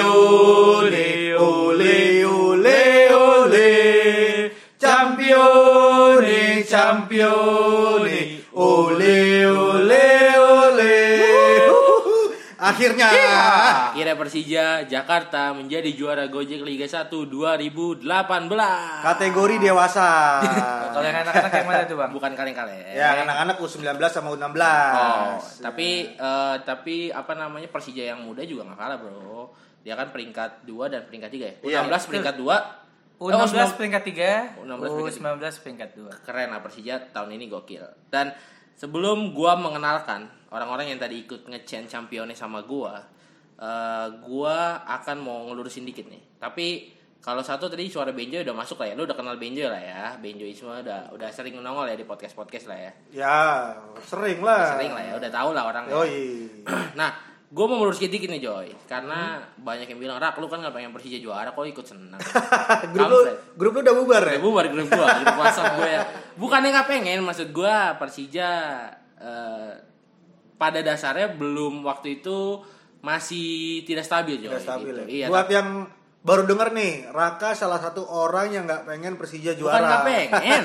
campione, ole ole ole, campione, campione, ole ole ole. Akhirnya. Iya. Kira Persija Jakarta menjadi juara Gojek Liga 1 2018. Kategori dewasa. Kalau yang anak-anak yang mana tuh bang? Bukan kaleng-kaleng. ya, anak-anak U19 sama U16. Oh, tapi eh, tapi apa namanya Persija yang muda juga nggak kalah, Bro. Dia kan peringkat 2 dan peringkat 3 ya. Iya, U16 peringkat Eh, 2 U16 peringkat 3, U16 peringkat U19 peringkat 2. keren lah Persija tahun ini gokil. Dan sebelum gua mengenalkan orang-orang yang tadi ikut nge-chain championnya sama gua, eh, gua akan mau ngelurusin dikit nih. Tapi kalau satu tadi suara Benjo udah masuk lah ya, lu udah kenal Benjo lah ya. Benjoisme udah udah sering nongol ya di podcast-podcast lah ya. Ya, sering lah. Sering lah ya, udah tau lah orang. Yoi. Nah, gue mau melurus dikit nih Joy, karena banyak yang bilang rak lu kan gak pengen Persija juara, kok ikut senang. grup lu, Kampret. grup lu udah bubar ya? Ya bubar grup gue, grup WhatsApp gue ya. Bukannya nggak pengen, maksud gue Persija eh, pada dasarnya belum waktu itu masih tidak stabil Joy. Udah stabil gitu. ya. Iya. Buat yang baru denger nih, Raka salah satu orang yang nggak pengen Persija Bukan juara. nggak pengen,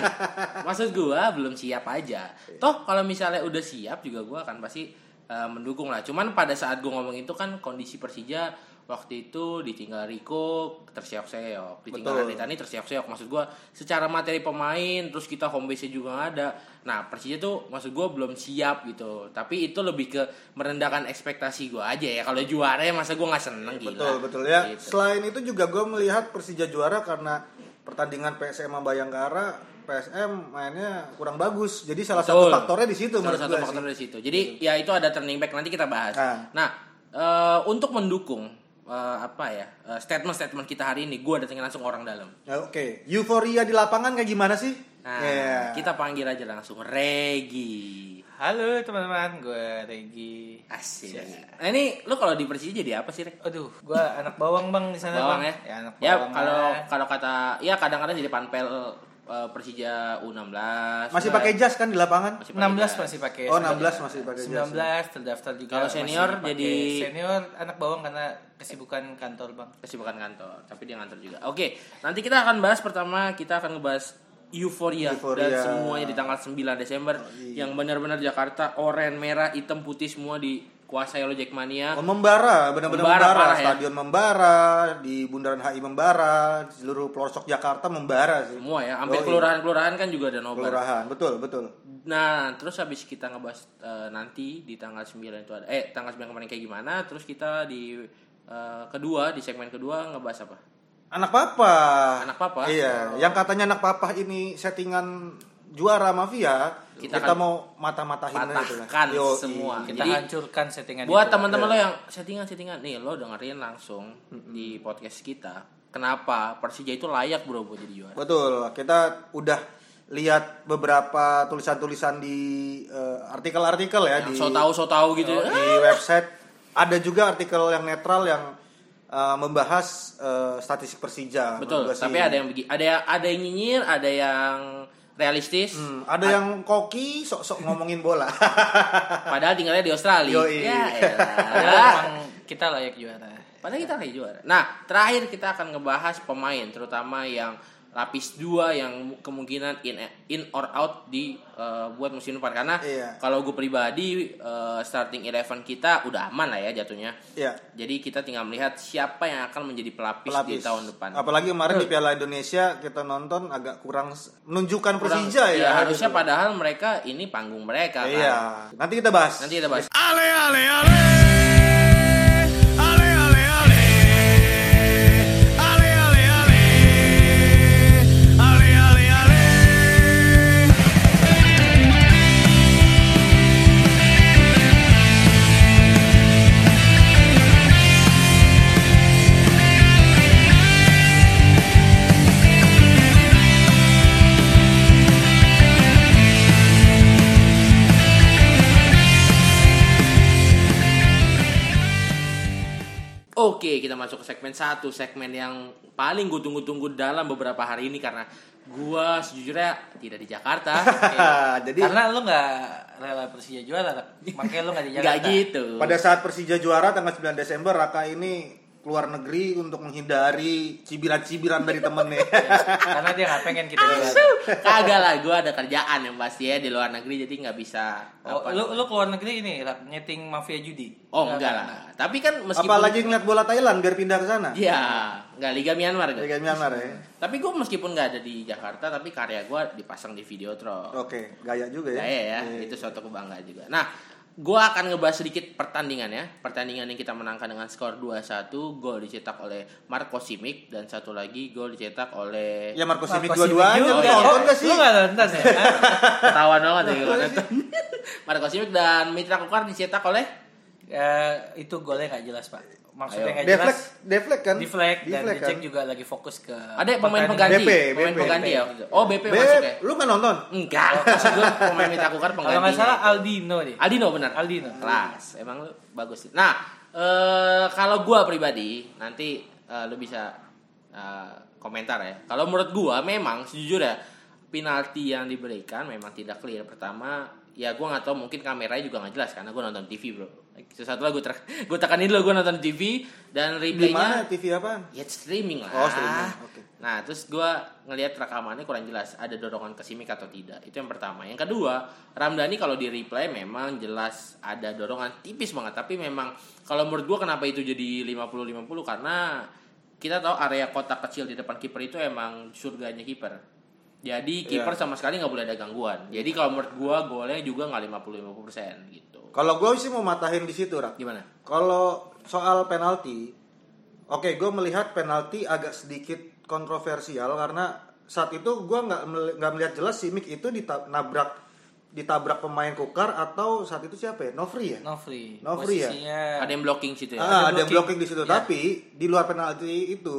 maksud gue belum siap aja. Toh kalau misalnya udah siap juga gue akan pasti eh, mendukung lah. Cuman pada saat gue ngomong itu kan kondisi Persija waktu itu ditinggal Rico terseok-seok, ditinggal Betul. Raditani terseok-seok. Maksud gue secara materi pemain, terus kita home base juga nggak ada. Nah Persija tuh maksud gue belum siap gitu. Tapi itu lebih ke merendahkan ekspektasi gue aja ya. Kalau juara ya masa gue nggak seneng gila. Betul, betul ya. Gitu. Selain itu juga gue melihat Persija juara karena pertandingan PSM sama Bayangkara, PSM mainnya kurang bagus. Jadi salah satu Betul. faktornya di situ salah menurut satu gue faktor dari situ. Jadi ya itu ada turning back nanti kita bahas. Ah. Nah, eh, untuk mendukung eh, apa ya eh, statement-statement kita hari ini, gue datengin langsung orang dalam. Ya, Oke, euforia di lapangan kayak gimana sih? Nah, Iya. kita panggil aja langsung Regi. Halo teman-teman, gue Regi. Iya. Asik. Nah, ini lu kalau di Persija jadi apa sih, Reg? Aduh, gue anak bawang bang di sana Bawang bang. ya. Ya anak Ya, bawang. kalau lah. kalau kata ya kadang-kadang jadi panpel eh, Persija U16. Masih Nah, pakai jas kan di lapangan? masih pakai 16 jas. masih pakai. Oh, sebenarnya. 16 masih pakai jas. 19 terdaftar juga. Kalau masih senior pakai. jadi- senior anak bawang karena kesibukan kantor bang. kesibukan kantor tapi dia ngantor juga oke nanti kita akan bahas pertama kita akan ngebahas Euforia. euforia, Oh, iya. dan semuanya di tanggal 9 Desember yang benar-benar Jakarta oranye merah hitam putih semua dikuasai oleh Jackmania Oh, membara, benar-benar Membara membara, parah ya. stadion membara, di Bundaran HI membara, di seluruh pelosok Jakarta membara sih. semua ya hampir Yoi. kelurahan-kelurahan kan juga ada Oh, nobar iya. Kelurahan, betul, betul. nah terus habis kita ngebahas eh, nanti di tanggal 9 itu ada eh tanggal 9 kemarin kayak gimana terus kita di eh, kedua di segmen kedua ngebahas apa Anak papa. Anak papa? Iya, yang katanya anak papa ini settingan juara mafia, kita, Kita akan mau mata-matahin aja lah. patahkan Yoi. semua Kita Jadi- hancurkan settingan buat gitu. itu. teman-teman Iya. lo yang settingan settingan nih lo dengerin langsung di podcast kita kenapa Persija itu layak bro buat jadi juara Betul, kita udah lihat beberapa tulisan-tulisan di eh, artikel-artikel ya yang di so tau so tau gitu di website ada juga artikel yang netral yang eh, membahas eh, statistik Persija. Menurut betul gua sih. tapi ada yang begi- ada yang ada yang nyinyir ada yang realistis Hmm, ada yang koki sok-sok ngomongin bola. padahal tinggalnya di Australia Yoi. ya Padahal elah. emang kita layak juara. Padahal kita kayak juara. Nah, terakhir kita akan ngebahas pemain, terutama yang lapis 2 yang mu- kemungkinan in in or out di eh, buat musim depan karena Iya. kalau gue pribadi eh, starting eleven kita udah aman lah ya jatuhnya. ya, Jadi kita tinggal melihat siapa yang akan menjadi pelapis, di pelapis. tahun depan. Apalagi kemarin di Piala Indonesia kita nonton agak kurang s- menunjukkan Kurang- Persija ya. iya, harusnya gitu. padahal mereka ini panggung mereka kan. Iya. Nanti kita bahas. Nanti kita bahas. Ale, ale, ale. Ale, ale, ale. Ale, ale, ale. Ale, ale, ale. Oke, kita masuk ke segmen satu, segmen yang paling gue tunggu-tunggu dalam beberapa hari ini karena gua sejujurnya tidak di Jakarta. Ah, Jadi Karena lo nggak rela Persija juara, Rak. makanya lo nggak di Enggak Jakarta. gitu. pada saat Persija juara tanggal 9 Desember Raka ini keluar negeri untuk menghindari cibiran-cibiran dari temennya. Iya, Karena dia nggak pengen kita juara. Kagak lah, gue ada kerjaan yang pasti ya di luar negeri jadi nggak bisa. Oh, apa- lu lu keluar negeri ini Rap, nyeting mafia judi. Oh enggak lah. Tapi kan meskipun Apalagi ngeliat bola Thailand biar pindah ke sana. Iya, enggak Liga Myanmar Ya, enggak. kayak Myanmar ya. Tapi gue meskipun nggak ada di Jakarta, tapi karya gue dipasang di Videotron. Oke, gaya juga ya. Gaya ya, Iya. itu suatu kebanggaan juga. Nah, gue akan ngebahas sedikit pertandingannya. Pertandingan yang kita menangkan dengan skor 2-1, gol dicetak oleh Marco Simic dan satu lagi gol dicetak oleh Ya Marco Simic Marco dua-duanya Simic lu juga. nonton Oh, gak sih? Lu nggak nonton ya? ketahuan banget nih gua nonton. Marco Simic dan Mitra Kukar dicetak oleh Eh, itu golnya nggak jelas pak. Maksudnya Ayo. nggak Deflek, jelas. deflek kan? Deflect dan Deflek dicek kan? juga lagi fokus ke ada pemain pertandingan. Ah, pengganti, BP, pemain BP. pengganti ya. Oh BP, masuk ya. Beb, lu gak nonton? Enggak, maksud gue pemain Mitra Kukar penggantinya. Kalau nggak salah Aldino deh. Aldino benar. Hmm. Aldino. Kelas. Emang lu bagus sih. Nah, eh kalau gua pribadi nanti eh, lu bisa eh, komentar ya. Kalau menurut gua memang sejujurnya penalti yang diberikan memang tidak clear. Pertama, ya gua nggak tahu mungkin kameranya juga nggak jelas karena gua nonton TV, Bro. Sesuatu lah gua ter- gua tekanin dulu gua nonton TV dan Di mana? replaynya TV apaan? ya streaming lah. Oh, streaming. Oke. Nah, terus gua ngelihat rekamannya kurang jelas ada dorongan ke Simic atau tidak. Itu yang pertama. Yang kedua, Ramdhani kalau di replay memang jelas ada dorongan tipis banget, tapi memang kalau menurut gua kenapa itu jadi 50-50 karena kita tahu area kotak kecil di depan kiper itu emang surganya kiper. Jadi kiper Iya. sama sekali nggak boleh ada gangguan. Jadi kalau menurut gua golnya juga nggak 50-50% gitu. Kalau gue sih mau matahin di situ, Rak. Gimana? Kalau soal penalti, oke gue melihat penalti agak sedikit kontroversial karena saat itu gue nggak mel- nggak melihat jelas Simic itu dita- nabrak ditabrak pemain Kukar atau saat itu siapa ya? Novri ya? Novri. Novri ya? Posisinya Ada yang blocking situ ya. Ah, ada ada yang blocking. Iya. blocking di situ, tapi di luar penalti itu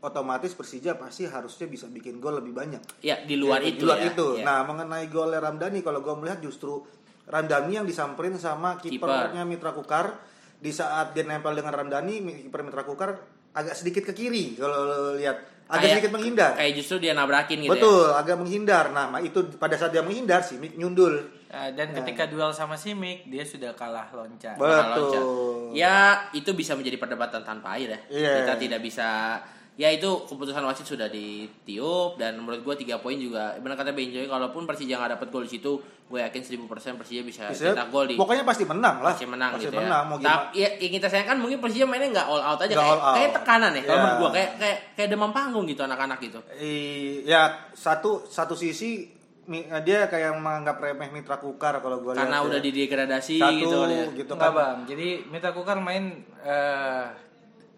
otomatis Persija pasti harusnya bisa bikin gol lebih banyak. Ya, di luar Di itu luar ya. itu. Ya. Nah, mengenai gol Ramdhani kalau gue melihat justru Ramdhani yang disamperin sama kipernya Mitra Kukar di saat dia nempel dengan Ramdhani kiper Mitra Kukar agak sedikit ke kiri kalau lo lihat agak Kayak- sedikit menghindar. Kayak justru dia nabrakin gitu ya. Betul, agak menghindar. Nah, ma- itu pada saat dia menghindar sih nyundul. Ya. Eh, dan ketika duel sama Simic dia sudah kalah loncat. Betul. Bakal loncat. Ya itu bisa menjadi perdebatan tanpa air ya. Iya. Kita tidak bisa. Ya itu keputusan wasit sudah ditiup dan menurut gue tiga poin juga benar kata Benjoy kalaupun Persija nggak dapat gol di situ gue yakin 1000% Persija bisa Bisa- Iya, cetak gol di Pokoknya pasti menang lah. Persija menang Pasti gitu menang, ya. mau gimana. Tapi ya, yang kita sayangkan mungkin Persija mainnya nggak all out aja Nggak kayak, all out. kayak tekanan ya kalau Iya. menurut gue kayak kayak kayak demam panggung gitu anak-anak gitu. I- ya satu satu sisi mi- dia kayak menganggap remeh Mitra Kukar kalau gue Karena udah didegradasi Iya, Satu, gitu kali ya. gitu Enggak kan. bang. Jadi Mita Kukar main eh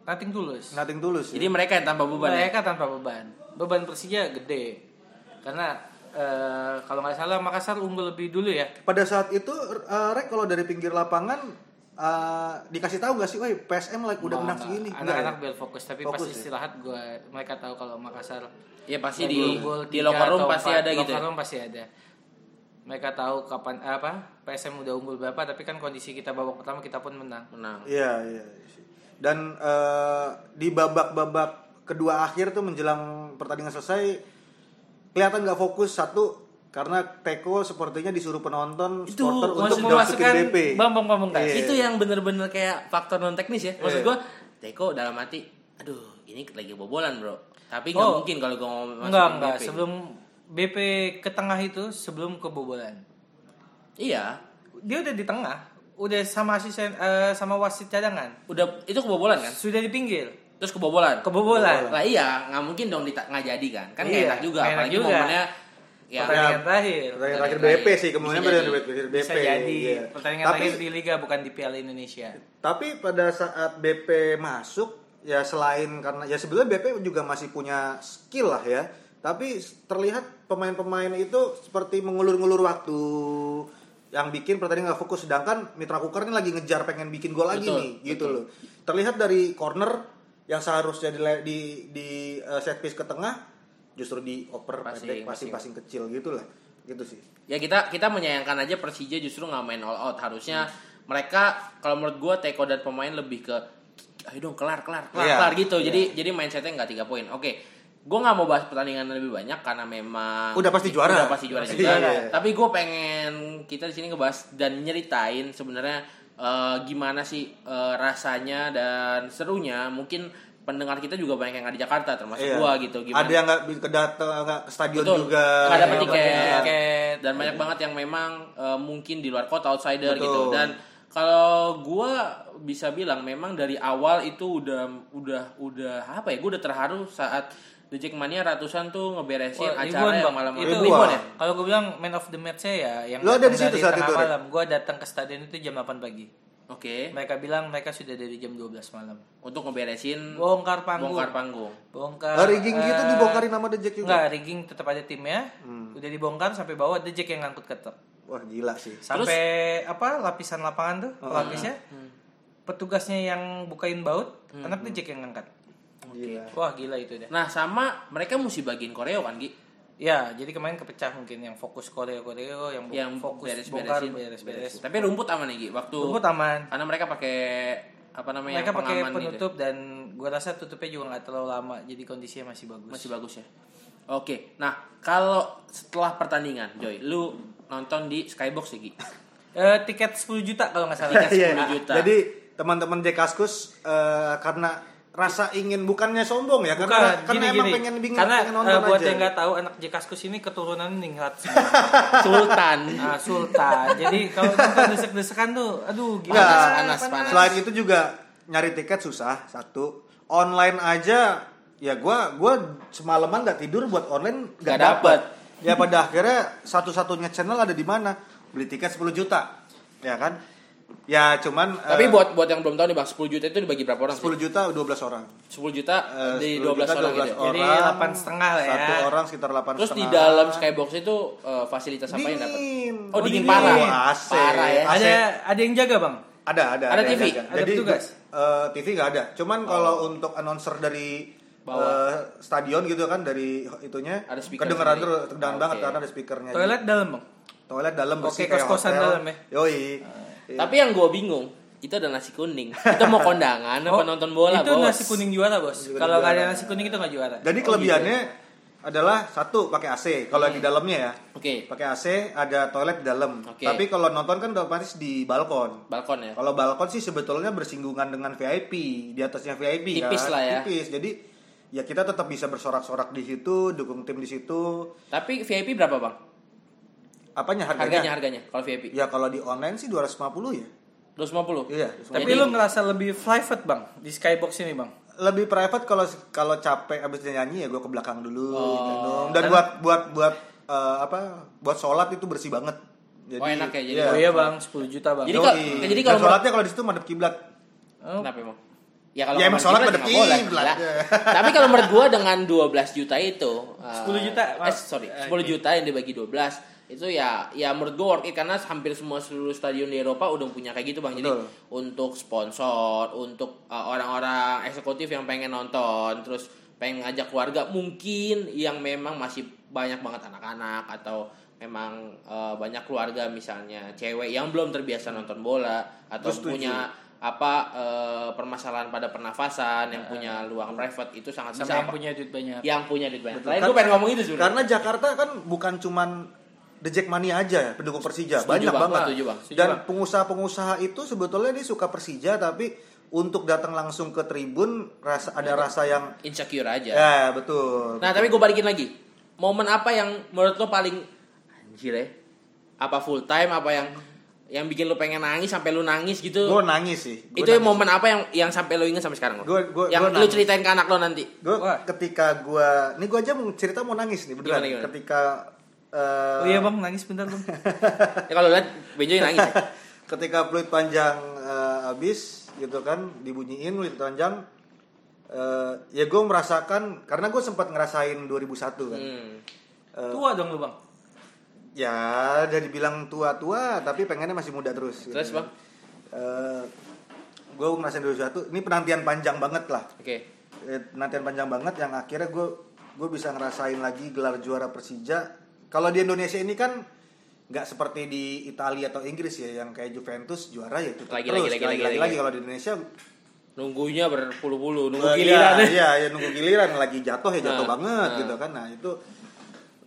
nothing tulus. Nothing tulus Jadi ya. mereka yang tambah beban ya. Mereka tanpa beban. Beban Persija gede. Karena eh, kalau nggak salah Makassar unggul lebih dulu ya. Pada saat itu eh, Rek kalau dari pinggir lapangan eh, dikasih tahu gak sih, woi PSM like udah menang segini. Enggak Anak-anak ya? biar fokus tapi Fokus ya? pas istirahat gue mereka tahu kalau Makassar Ya pasti main di gol-gol di tiga locker room atau pasti empat, ada gitu. Locker Ya. room pasti ada. Mereka tahu kapan eh, apa PSM udah unggul berapa tapi kan kondisi kita babak pertama kita pun menang. Menang. Iya iya. Dan eh, di babak-babak kedua akhir tuh menjelang pertandingan selesai kelihatan nggak fokus satu karena Teko sepertinya disuruh penonton Itu, supporter untuk Untuk memasukin memasukkan DP. bom bom bom Iya. itu yang bener-bener kayak faktor non teknis ya maksud Iya. gua Teko dalam hati aduh ini lagi bobolan bro tapi nggak Oh. mungkin kalau gua mau masukin Enggak enggak BP. sebelum BP ke tengah itu sebelum kebobolan. iya Dia udah di tengah, udah sama asisten eh, sama wasit cadangan. udah itu kebobolan kan Sudah di pinggir. terus kebobolan Kebobolan. lah iya nggak mungkin dong dita- nggak jadi kan kan nggak Iya, enak juga nggak enak apalagi juga. momennya ya Pertandingan terakhir. Pertandingan terakhir Pertandingan BP terakhir. sih, kemungkinan Bisa pertandingan jadi. terakhir BP. Bisa jadi iya. pertandingan tapi, terakhir di liga bukan di Piala Indonesia. Tapi pada saat BP masuk, ya selain karena ya sebetulnya BP juga masih punya skill lah ya. Tapi terlihat pemain-pemain itu seperti mengulur-ngulur waktu yang bikin pertandingan nggak fokus. Sedangkan Mitra Kukar ini lagi ngejar pengen bikin gol lagi Betul, nih, gitu loh. Terlihat dari corner yang seharusnya di di, di eh, set piece ke tengah justru dioper Passing, pendek passing-passing kecil gitu lah. Gitu sih. ya kita kita menyayangkan aja Persija justru nggak main all out harusnya mereka kalau menurut gua Teko dan pemain lebih ke ayo dong kelar kelar kelar Iya. kelar gitu jadi jadi mindsetnya nggak tiga poin oke gua nggak mau bahas pertandingan lebih banyak karena memang Udah pasti juara. udah pasti juara Pasti juga juara. tapi gue pengen kita di sini ngebahas dan nyeritain sebenarnya eh, gimana sih eh, rasanya dan serunya mungkin pendengar kita juga banyak yang nggak di Jakarta termasuk Iya. gua gitu gimana Ada yang nggak bi- ke datang nggak ke stadion Betul. juga. Nggak dapat Iya, tiket. tiket. dan banyak banget yang memang eh, mungkin di luar kota outsider Betul. gitu dan kalau gua bisa bilang memang dari awal itu udah udah udah apa ya gua udah terharu saat The Jackmania ratusan tuh ngeberesin Wah, acara yang Bang. malam itu ya, Ribuan. ribuan ya kalau gue bilang man of the match ya yang Lo ada di datang situ dari saat tengah itu, Rik? malam gue datang ke stadion itu jam 8 pagi Oke. mereka bilang mereka sudah dari jam 12 malam Untuk ngeberesin bongkar panggung bongkar panggung. bongkar Ah, rigging gitu eh, dibongkarin nama The Jack juga. Hmm. enggak rigging tetap ada timnya udah dibongkar sampai bawah The Jack yang ngangkut ketok Wah gila sih. sampai apa lapisan lapangan tuh Oh, lapisnya hmm. petugasnya yang bukain baut anak The Jack yang ngangkat Gila. wah gila itu deh Nah, sama mereka mesti bagiin koreo kan, Gi? ya jadi kemarin kepecah mungkin yang fokus koreo koreo yang, Yang fokus beres-beresin, bongkar beres beres Tapi rumput aman nih, Gi, waktu rumput aman karena mereka pakai apa namanya mereka yang pakai pengaman gitu. penutup dan gue rasa tutupnya juga nggak terlalu lama jadi kondisinya masih bagus Masih bagus ya. Oke. Nah, kalau setelah pertandingan, Joy, lu nonton di Skybox ya, Gi? Eh, tiket 10 juta kalau nggak salah Tiket Iya. 10 juta. Jadi teman-teman Jekaskus eh, karena rasa ingin bukannya sombong ya Bukan, karena karena gini, emang gini. pengen bingung karena pengen nonton eh, buat aja. yang nggak tahu anak Jekaskus ini keturunan ningrat Sultan. nah, Sultan jadi kalau nonton desek-desekan tuh aduh gila Nggak. panas, panas. Iya. Selain itu juga nyari tiket susah satu. Online aja ya gua gua semalaman nggak tidur buat online nggak Nggak dapet. dapet. Ya pada akhirnya satu-satunya channel ada di mana? Beli tiket 10 juta. Ya kan? Ya cuman eh, Tapi buat buat yang belum tahu nih, Bang, 10 juta itu dibagi berapa orang? 10, 10 juta 12 orang. 10 juta Eh, di 10 12 juta, orang gitu. ya? Jadi 8,5 lah ya. Satu orang sekitar 8 Terus di dalam Skybox itu eh, fasilitas apa yang dapat? dingin. Oh, dingin parah. Wah, AC. Parah ya. AC. ada ada yang jaga bang Ada ada Ada Oh. yang TV? jaga. Ada Jadi petugas? eh, TV nggak ada. Cuman kalau untuk announcer dari eh, stadion gitu kan dari itunya Ada speaker kedengeran sendiri. terus kedengeran Oke. banget karena ada speakernya. toilet dalam bang Toilet dalam bersih Oke, kos-kosan hotel. dalam ya. Yoi. Iya. Tapi yang gue bingung itu ada nasi kuning. Kita mau kondangan apa Oh, nonton bola, itu bos? nasi kuning juara bos kuning kalau nggak ada juara. nasi kuning itu nggak juara Oh, Jadi kelebihannya gitu ya. adalah satu pakai AC kalau yang di dalamnya ya. Oke, Pakai AC ada toilet di dalam. Hmm. Oke. Tapi kalau nonton kan otomatis di balkon. balkon ya. Kalau balkon sih sebetulnya bersinggungan dengan VIP, di atasnya VIP Tipis kan. lah ya. Tipis. Jadi ya kita tetap bisa bersorak-sorak di situ, dukung tim di situ. Tapi VIP berapa bang? Apanya Harganya harganya? harganya kalau VIP Ya kalau di online sih 250 ya. 250. Iya. tapi Jadi- lu ngerasa lebih private bang di skybox ini bang Lebih private kalau kalau capek abis nyanyi ya gue ke belakang dulu Oh. minum. Dan buat buat buat eh, apa? Buat sholat itu bersih banget. Jadi, Oh, enak ya, jadi iya. oh iya bang 10 juta bang Jadi Yoi. kalau- jadi kalau- Dan sholatnya kalau di situ madep kiblat. Oh, Kenapa emang? Ya kalau Ya, emang sholat menurut pada gua nggak kiblat. boleh, gila. Tapi kalau menurut gua dengan 12 juta itu eh, 10 juta, eh maaf. sorry, Eh, 10 juta yang dibagi 12 itu ya ya menurut gua worth it karena hampir semua seluruh stadion di Eropa udah punya kayak gitu Bang. Jadi Betul. untuk sponsor, untuk eh, orang-orang eksekutif yang pengen nonton, terus pengen ngajak keluarga mungkin yang memang masih banyak banget anak-anak atau memang eh, banyak keluarga misalnya cewek yang belum terbiasa nonton bola atau Gua setuju. punya apa eh, permasalahan pada pernafasan yang punya Eh. luang private itu sangat sama bisa yang apa- punya duit banyak yang punya duit banyak. Betul. Lain Kan- gue pengen ngomong itu sebenarnya. Karena Jakarta kan bukan cuman The Jackmania aja ya pendukung Persija Setuju, banyak Bang. banget. Setuju, Bang. Setuju, Dan pengusaha-pengusaha itu sebetulnya dia suka Persija tapi untuk datang langsung ke tribun rasa ada rasa yang insecure aja. ya betul. Iya. Nah, tapi gue balikin lagi. Momen apa yang menurut lo paling anjir ya? Apa full time apa yang yang bikin lo pengen nangis sampai lo nangis gitu? gue nangis sih. Gua itu nangis. momen apa yang yang sampai lo inget sampai sekarang lo? Gua- gua- yang gua lo nangis. ceritain ke anak lo nanti. Gua Wah. ketika gua ini gua aja mau cerita mau nangis nih beneran. Gimana, gimana? Ketika eh, oh iya bang nangis bentar bang Ya kalau lihat Benjo yang nangis. ya. ketika peluit panjang eh, habis gitu kan dibunyiin peluit panjang eh, ya gue merasakan karena gue sempat ngerasain 2001 kan Hmm. tua dong lu bang ya udah dibilang tua-tua tapi pengennya masih muda terus gitu. Terus, Bang? Eh, gue ngerasain 2001 ini penantian panjang banget lah Oke. Eh, penantian panjang banget yang akhirnya gue gue bisa ngerasain lagi gelar juara Persija kalau di Indonesia ini kan nggak seperti di Italia atau Inggris ya yang kayak Juventus juara ya tutup Lagi, terus lagi, lagi, lagi, lagi, lagi. kalau di Indonesia Nunggunya berpuluh-puluh, eh, nunggu giliran. iya, iya ya nunggu giliran lagi jatuh ya jatuh Nah, banget nah. gitu kan nah itu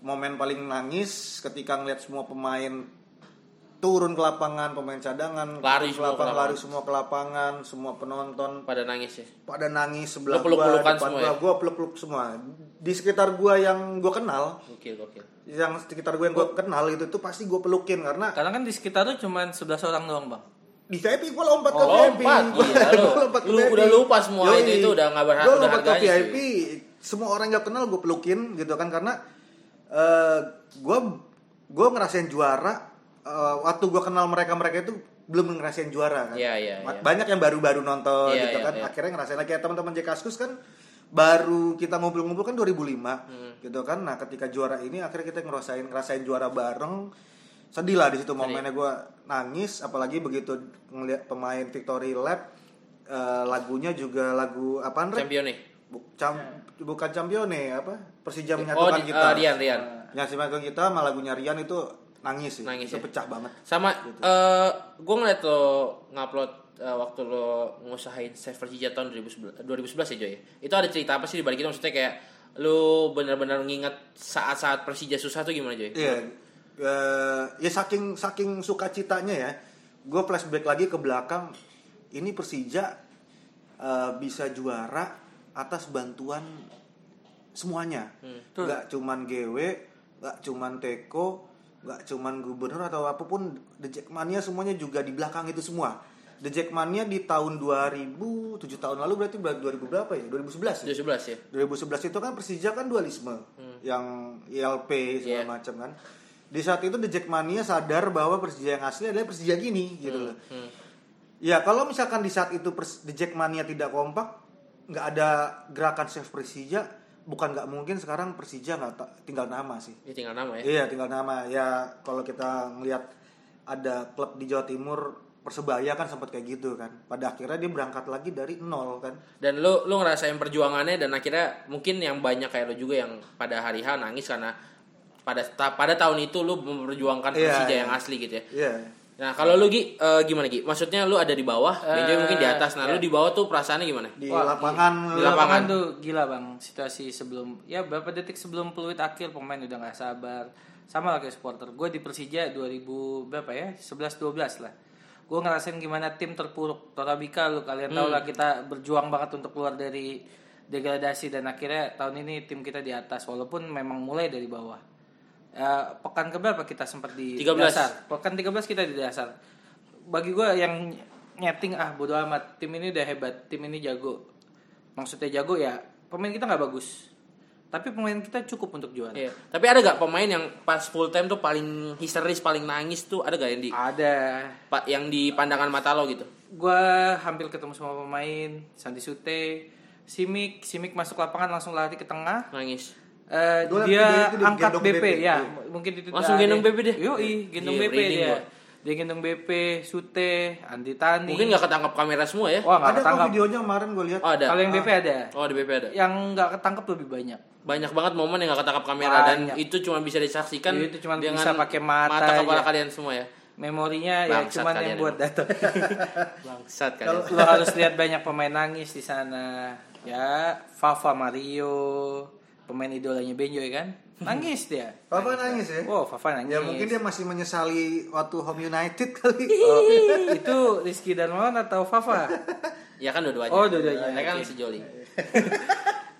momen paling nangis ketika ngeliat semua pemain turun ke lapangan pemain cadangan turun ke Lari semua ke lapangan, lapangan. lari semua ke lapangan semua penonton pada nangis ya pada nangis sebelah Lu gua, peluk-pelukan depan semua gua, ya? gua peluk-peluk semua di sekitar gua yang gua kenal gokil gokil yang sekitar gua yang gua kenal itu tuh pasti gua pelukin karena Karena kan di sekitar tuh cuma 11 orang doang bang. di VIP gue lompat ke Oh, VIP lompat, Gua- gila lu. gua lompat ke Lu VIP. udah lupa semua Yoi. itu- itu udah nggak berharga- Gua udah lompat ke harganya VIP semua orang gak kenal gue pelukin gitu kan karena eh gue gue ngerasain juara eh, waktu gue kenal mereka mereka itu belum ngerasain juara kan Iya, iya, Ma- iya. banyak yang baru-baru nonton Iya, gitu iya, kan iya. akhirnya ngerasain lagi kayak teman-teman Jekaskus kan baru kita ngumpul-ngumpul kan 2005 Hmm. gitu kan nah ketika juara ini akhirnya kita ngerasain ngerasain juara bareng sedih lah di situ momennya gue nangis apalagi begitu ngelihat pemain Victory Lab eh, lagunya juga lagu apa Andre champion nih bukan Campione apa Persija oh menyatukan di- kita eh, Rian Rian menyatukan kita malah lagunya Rian itu nangis sih Nangis itu ya. pecah banget sama Gitu. eh gue ngeliat lo ngupload eh, waktu lo ngusahain save Persija tahun 2011, 2011 ya Joy ya? itu ada cerita apa sih di balik itu maksudnya kayak lo benar-benar nginget saat-saat Persija susah tuh gimana Joy? Iya. Eh, ya saking saking sukacitanya ya. Gue flashback lagi ke belakang. Ini Persija eh, bisa juara atas bantuan semuanya. Gak cuman GW, gak cuman Teko, gak cuman gubernur atau apapun The Jackmania semuanya juga di belakang itu semua. The Jackmania di tahun 2000, 7 tahun lalu berarti ber- 2000 berapa ya? 2011 ya? 2011 ya 2011 itu kan Persija kan dualisme yang ILP segala Iya. macam kan. Di saat itu The Jackmania sadar bahwa Persija yang asli adalah Persija gini gitu loh. Ya kalau misalkan di saat itu Pers- The Jackmania tidak kompak, nggak ada gerakan save Persija, bukan nggak mungkin sekarang Persija nggak ta- tinggal nama sih. ini tinggal nama ya Iya tinggal nama ya kalau kita ngelihat ada klub di Jawa Timur Persebaya kan sempat kayak gitu kan. Pada akhirnya dia berangkat lagi dari nol kan. dan lo lo ngerasain perjuangannya dan akhirnya mungkin yang banyak kayak lo juga yang pada hari H nangis karena pada ta- pada tahun itu lo memperjuangkan Iya, Persija iya. yang asli gitu ya Iya. Nah, kalau lu Gi, eh, gimana Gi? Maksudnya lu ada di bawah, Eh, Benjoy mungkin di atas. Nah, lu iya. di bawah tuh perasaannya gimana? Di Wah, lapangan Di Di lu- lapangan. lapangan tuh gila bang situasi sebelum ya berapa detik sebelum peluit akhir pemain udah nggak sabar sama lah kayak supporter gue di Persija 2000 berapa ya 11 12 lah gue ngerasain gimana tim terpuruk Torabika lu kalian tau lah kita berjuang banget untuk keluar dari degradasi dan akhirnya tahun ini tim kita di atas walaupun memang mulai dari bawah Eh, pekan keberapa kita sempat di 13. dasar pekan 13 kita di dasar bagi gue yang nyeting ah bodo amat tim ini udah hebat tim ini jago maksudnya jago ya pemain kita nggak bagus tapi pemain kita cukup untuk juara Iya. Tapi ada gak pemain yang pas full time tuh paling histeris, paling nangis tuh ada gak yang di ada pa- yang di pandangan mata lo gitu? gue hampir ketemu semua pemain Sandi Sute Simik Simik masuk lapangan langsung lari ke tengah Nangis. Eh, Gua liat video dia itu dia angkat gendong BP, BP. ya Iya. M- mungkin itu Langsung ada- gendong BP deh. yoi gendong Iya, BP merinding dia gua. dia gendong BP Sute Andi Tani Mungkin gak ketangkap kamera semua ya? wah nggak ada kok ketangkap videonya kemarin gue lihat. Oh, ada. kalau yang BP ada Oh, di BP ada. yang nggak ketangkep lebih banyak Banyak banget momen yang gak ketangkap kamera dan Banyak. itu cuma bisa disaksikan Itu cuma dengan bisa pakai mata kepala aja. kalian semua ya. memorinya Bangsat ya cuman yang kalian buat data Bangsat kalian. lo harus lihat banyak pemain nangis di sana ya Fafa Mario pemain idolanya Benjoy kan nangis dia Papa nangis ya? oh Fafa nangis Ya mungkin dia masih menyesali waktu Home United kali. Oh, itu Rizky Darmawan atau Fafa Ya kan dua-duanya. Oh, dua-duanya. Saya kan sejoli.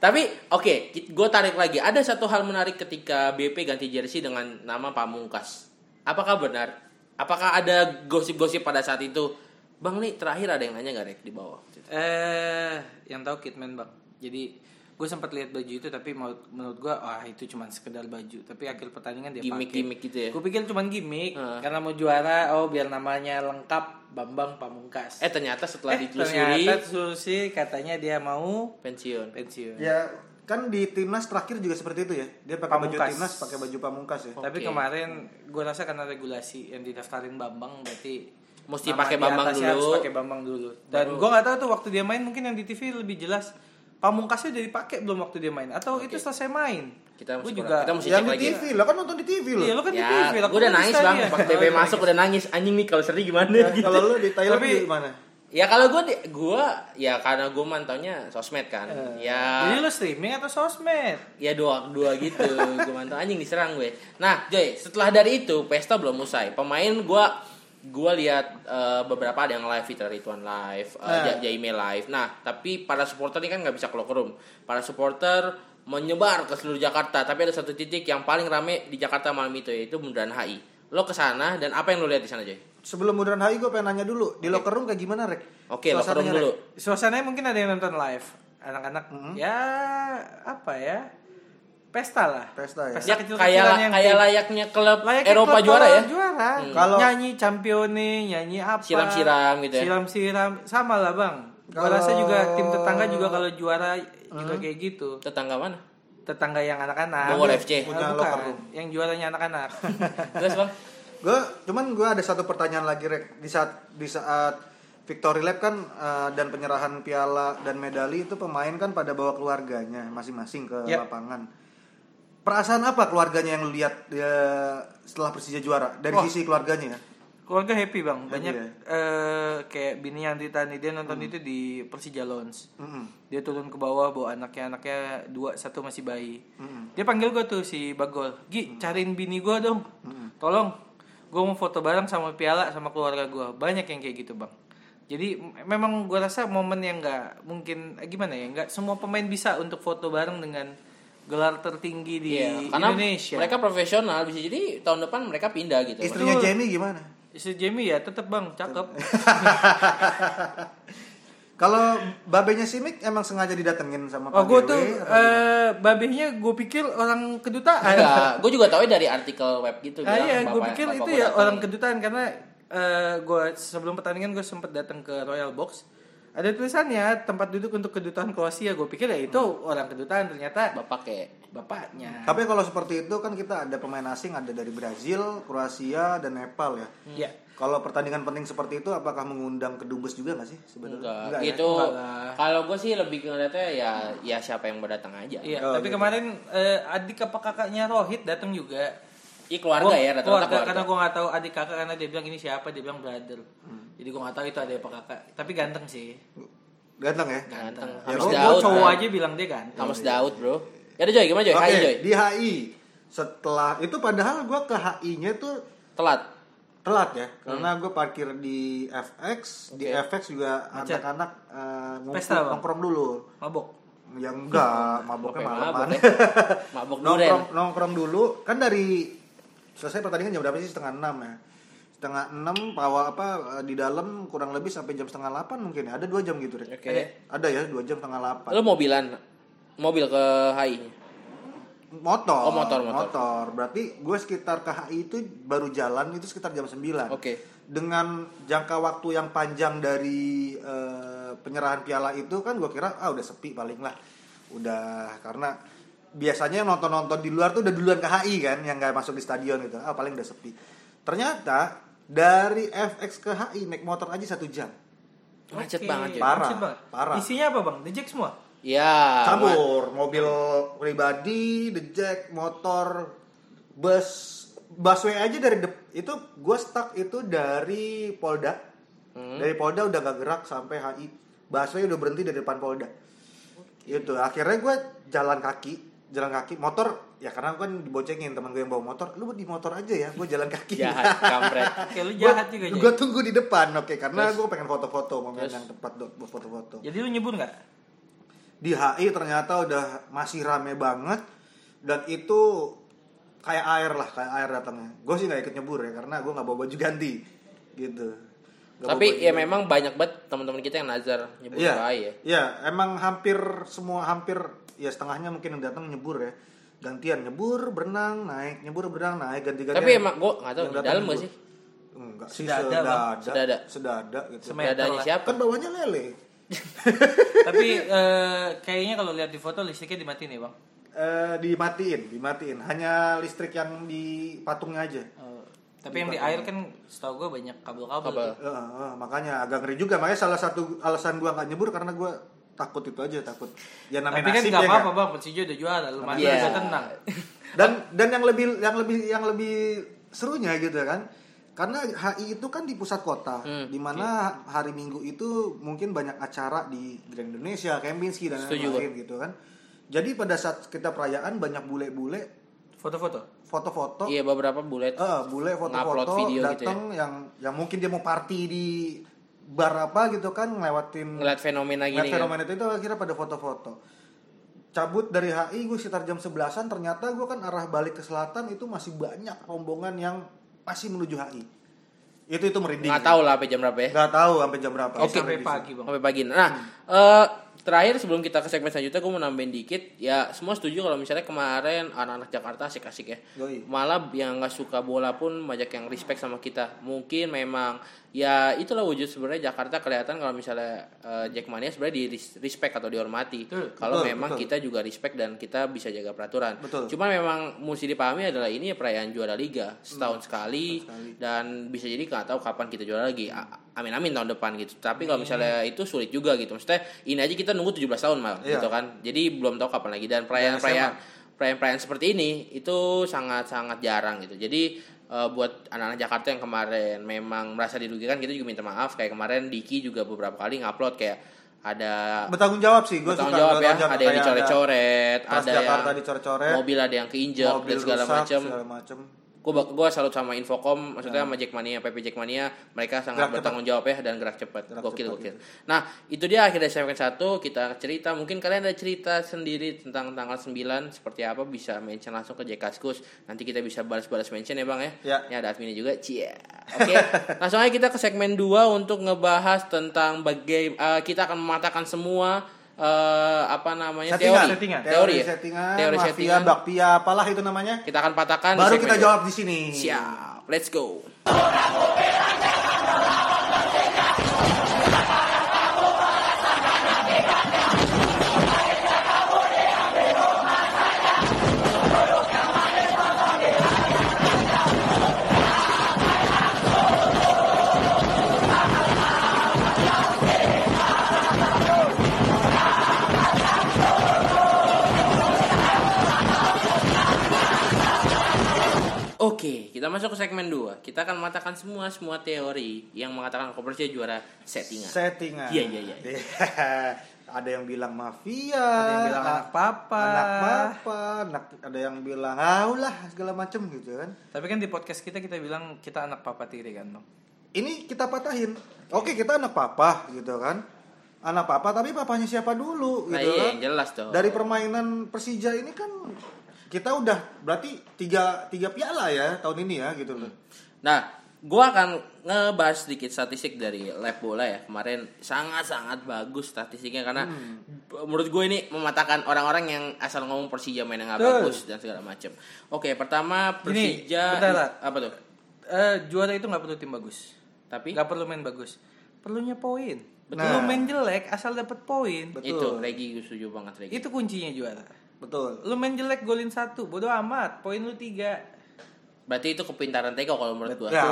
Tapi oke, gue tarik lagi. Ada satu hal menarik ketika BP ganti jersey dengan nama Pamungkas. Apakah benar? Apakah ada gosip-gosip pada saat itu? Bang nih terakhir ada yang nanya gak Rek di bawah? eh yang tahu Kidman bang jadi gue sempat lihat baju itu tapi mau- menurut gue ah itu cuman sekedar baju tapi akhir pertandingan dia pakai Gimik-gimik gitu ya. gue pikir cuman gimmick karena mau juara oh biar namanya lengkap Bambang Pamungkas Eh ternyata setelah Eh, ditelusuri ternyata Susi katanya dia mau pensiun. pensiun. ya kan di timnas terakhir juga seperti itu ya. Dia pakai baju Pamungkas. Oh, timnas, pakai baju pamungkas ya. Tapi Oke. kemarin gue rasa karena regulasi yang didaftarin Bambang berarti Mesti nama pakai di Bambang atasnya dulu. Harus pakai Bambang dulu. Dan gue nggak tahu tuh waktu dia main mungkin yang di TV lebih jelas. Pamungkasnya udah dipakai belum waktu dia main atau itu selesai main? Kita Gua mesti juga. kita mesti Yang cek di lagi. TV lah kan nonton di TV Iya lo loh. kan di Ya, TV lah. Oh, Iya. Ya, gue udah nangis bang. Pas BP masuk udah nangis. Anjing nih kalau seri gimana? gitu. Kalau lu di Thailand Tapi- di mana? Ya kalau gue gua ya karena gue mantaunya sosmed kan. ya Eh. Jadi lu streaming atau sosmed? ya dua dua gitu gue mantau anjing diserang gue nah Joy setelah dari itu pesta belum usai pemain gue gue lihat eh, beberapa ada yang live Fitra Rituan live eh, Ja- Jaime live nah tapi para supporter ini kan nggak bisa keluar ke room para supporter menyebar ke seluruh Jakarta tapi ada satu titik yang paling rame di Jakarta malam itu yaitu bundaran HI lo ke sana dan apa yang lo lihat di sana Joy Sebelum bundaran HI gue pengen nanya dulu, di locker room kayak gimana, Rek? oke lo ke room Suasananya, dulu Rek? Suasananya mungkin ada yang nonton live. Anak-anak ya apa ya? Pesta lah. Pesta ya. ya, kecil-kecilan kayak yang kayak tim- layaknya klub Layaknya Eropa klub juara ya Juara. Kalau- nyanyi campione, nyanyi apa? Siram-siram gitu ya? Siram-siram sama lah, Bang. Gua Kalau- Hmm? rasa juga tim tetangga juga kalau juara juga kayak gitu. tetangga mana Tetangga yang anak-anak. Bogor FC. Punya Ah, bukan. locker room. Yang juaranya anak-anak. terus bang Gue cuman gue ada satu pertanyaan lagi rek di saat di saat Victory Lab kan eh, dan penyerahan piala dan medali itu pemain kan pada bawa keluarganya masing-masing ke Yap. lapangan. Perasaan apa keluarganya yang lu lihat eh, setelah Persija juara dari sisi keluarganya ya? Keluarga happy, Bang. Banyak ya? Hmm. eh, kayak bini yang ditani dia nonton itu di Persija Lounge. Mm-mm. dia turun ke bawah bawa anaknya anaknya dua satu masih bayi dia panggil gue tuh si bagol gi cariin bini gue dong tolong gue mau foto bareng sama piala sama keluarga gue banyak yang kayak gitu bang jadi m- memang gue rasa momen yang nggak mungkin eh, gimana ya nggak semua pemain bisa untuk foto bareng dengan gelar tertinggi di Iya, karena Indonesia mereka profesional bisa jadi tahun depan mereka pindah gitu. Istrinya Jamie gimana? si Jamie ya tetap bang cakep Kalau babenya Simik emang sengaja didatengin sama oh Pak gue Dewi tuh atau gimana? eh babehnya gue pikir orang kedutaan Enggak, gue juga tahu ya dari artikel web gitu. Ah bilang iya, gue bapak- pikir bapak itu gua ya datang. orang kedutaan karena eh gue sebelum pertandingan gue sempet datang ke Royal Box. Ada tulisannya tempat duduk untuk kedutaan Kroasia. Gue pikir ya itu Hmm. orang kedutaan ternyata bapak kayak bapaknya. Tapi kalau seperti itu kan kita ada pemain asing ada dari Brazil, Kroasia dan Nepal ya. Hmm. Iya. Kalau pertandingan penting seperti itu apakah mengundang kedubes juga nggak sih enggak, sebenarnya? ya? gitu. Enggak lah. Kalau gue sih lebih ke ngeliatnya ya ya siapa yang berdatang aja. Iya, Oh, tapi gitu. kemarin eh, adik apa kakaknya Rohit datang juga. Ih, keluarga Gua- ya rata-rata keluarga. karena gue nggak tahu adik kakak karena dia bilang ini siapa, dia bilang brother. Hmm. Jadi gue nggak tahu itu adik apa kakak. Tapi ganteng sih. Ganteng ya? Ganteng. Ya, Hamis gua- Gue Daud. cowok kan. aja bilang dia ganteng. Hamis Daud, Bro. Ya udah Joy, gimana Joy? Oke, Hai Joy. di HI. Setelah itu padahal gua ke HI-nya tuh Telat. telat ya. Karena gua parkir di FX, di Hmm. Oke. FX juga Macet. anak-anak eh, ngumpul- Pesta, Bang? nongkrong dulu. Mabok. Ya enggak, maboknya Oke, malaman. mabok ya. Mabok duren. nongkrong, nongkrong dulu kan dari selesai pertandingan jam berapa sih setengah enam ya setengah enam pawal apa eh, di dalam kurang lebih sampai jam setengah delapan mungkin ya. ada dua jam gitu Rek. Oke. Ada- ada ya dua jam setengah delapan Lu mobilan. Mobil ke HI. motor Oh, motor, motor. berarti gue sekitar ke HI itu baru jalan itu sekitar jam 9 Oke. dengan jangka waktu yang panjang dari eh, penyerahan piala itu kan gue kira ah udah sepi paling lah udah karena biasanya yang nonton-nonton di luar tuh udah duluan ke HI kan yang nggak masuk di stadion gitu ah paling udah sepi ternyata dari FX ke HI naik motor aja satu jam Macet Oke, banget Joy. Parah, macet banget. parah. Isinya apa bang? Dejek semua? Ya, ma- kabur mobil pribadi the jack motor bus busway aja dari dep- itu gue stuck itu dari Polda dari Polda udah gak gerak sampai HI busway udah berhenti dari depan Polda itu akhirnya gue jalan kaki jalan kaki motor ya karena gue kan dibocengin teman gue yang bawa motor lu di motor aja ya gue jalan kaki jahat kampret. Kayak lu Gua- jahat juga Jay. gua tunggu di depan oke karena gue pengen foto-foto momen yang tepat buat buat foto-foto Jadi lu nyebur nggak? di HI ternyata udah masih rame banget dan itu kayak air lah kayak air datangnya gue sih nggak ikut nyebur ya karena gue nggak bawa baju ganti gitu Nggak bawa Tapi baju ya ganti. memang banyak banget teman-teman kita yang nazar nyebut Iya, ke HI ya. iya, emang hampir semua hampir ya setengahnya mungkin yang datang nyebur ya gantian nyebur berenang naik nyebur berenang naik ganti ganti Tapi emang gue nggak tahu di dalam gak sih? enggak sih Sedada, sedada Bang. Sedada. sedada gitu Semeter Dadanya lah. siapa? kan bawahnya lele Tapi eh, kayaknya kalau lihat di foto listriknya dimatiin ya bang. Eh, dimatiin dimatiin hanya listrik yang di patungnya aja Eh, tapi yang di air kan setahu gue banyak Kabel. kabel-kabel. tuh. Eh, eh, makanya agak ngeri juga makanya salah satu alasan gua nggak nyebur karena gua takut itu aja takut ya namanya Tapi kan nasib nggak ya apa-apa nggak? bang, Persija udah juara, lu mati Iya. udah tenang. dan dan yang lebih yang lebih yang lebih serunya gitu kan Karena HI itu kan di pusat kota, di mana hari Minggu itu mungkin banyak acara di Grand Indonesia, Kempinski dan Setuju, lain-lain gitu kan. Jadi pada saat kita perayaan banyak bule-bule Foto-foto. foto-foto Iya beberapa bulet. Eh, bule Ngupload foto-foto video gitu datang yang yang mungkin dia mau party di bar apa gitu kan ngelewatin Ngeliat fenomena gini. ngeliat kan. fenomena itu, itu akhirnya pada foto-foto cabut dari HI gue sekitar jam 11an ternyata gue kan arah balik ke selatan itu masih banyak rombongan yang masih menuju HI itu itu merinding Nggak tahu lah sampai jam berapa ya. nggak Hmm. tahu sampai jam berapa Oke. Sampai Sampai di pagi bang. sampai pagi. Nah, eh, terakhir sebelum kita ke segmen selanjutnya, gue mau nambahin dikit. Ya, semua setuju kalau misalnya kemarin anak-anak Jakarta asik-asik ya. Yoi. Malah yang nggak suka bola pun banyak yang respect sama kita. Mungkin memang ya itulah wujud sebenarnya Jakarta kelihatan kalau misalnya eh, Jackmania sebenarnya di ris- respect atau dihormati. Betul, kalau betul, memang betul. kita juga respect dan kita bisa jaga peraturan. Betul. Hmm, Cuman memang mesti dipahami adalah ini ya perayaan juara liga setahun sekali sekali. dan bisa jadi nggak tahu kapan kita juara lagi. A- Amin-amin tahun depan gitu. Tapi kalau misalnya itu sulit juga gitu. Maksudnya ini aja kita nunggu 17 tahun malah Iya. gitu kan. Jadi belum tahu kapan lagi dan perayaan-perayaan perayaan-perayaan seperti ini itu sangat-sangat jarang gitu. Jadi eh, buat anak-anak Jakarta yang kemarin memang merasa dirugikan kita juga minta maaf kayak kemarin Diki juga beberapa kali ngupload kayak ada bertanggung jawab sih gue bertanggung jawab ya ada yang dicoret-coret Trans ada Jakarta yang dicoret-coret, mobil ada yang keinjek mobil dan segala rusak, macam segala macem. gue gue salut sama Infocom maksudnya sama Jackmania PP Jackmania mereka Nah. sangat Gerak bertanggung jawab ya dan gerak cepat Gerak gokil cepat, gitu. gokil nah itu dia akhirnya segmen satu kita cerita mungkin kalian ada cerita sendiri tentang tanggal 9 seperti apa bisa mention langsung ke Jakaskus nanti kita bisa balas-balas mention ya bang ya Ya. ini ada adminnya juga cia oke langsung aja kita ke segmen 2 untuk ngebahas tentang bagai eh, kita akan mematahkan semua eh, apa namanya Settingan, teori settingan. teori ya? settingan, teori mafia, settingan bakpia, apalah itu namanya. kita akan patahkan di Baru segmen kita dua. jawab di sini. Siap, let's go. Oke, kita masuk ke segmen 2. Kita akan mengatakan semua semua teori yang mengatakan Kopersia juara settingan. Settingan. Iya, iya, iya. ada yang bilang mafia, Ada yang bilang anak papa. anak papa, anak- ada yang bilang haulah segala macem gitu kan. Tapi kan di podcast kita kita bilang kita anak papa tiri kan bang. Ini kita patahin. Oke, kita anak papa gitu kan. Anak papa tapi papanya siapa dulu nah, gitu iya, kan. yang jelas dong. Dari permainan Persija ini kan kita udah berarti tiga tiga piala ya tahun ini ya gitu loh. Nah, gua akan ngebahas sedikit statistik dari lab bola ya. Kemarin sangat-sangat bagus statistiknya karena b- menurut gue ini mematahkan orang-orang yang asal ngomong Persija main yang nggak Betul. bagus dan segala macam. Oke, pertama Gini, Persija bentar, Rat. apa tuh? Eh, juara itu nggak perlu tim bagus. Tapi Nggak perlu main bagus. Perlunya poin. Betul. Lu main jelek asal dapat poin. Betul. itu Regi gue setuju banget Regi. Itu kuncinya juara. Betul. Lu main jelek golin satu, bodoh amat. Poin lu tiga. Berarti itu kepintaran Teko kalau menurut gua. Ya,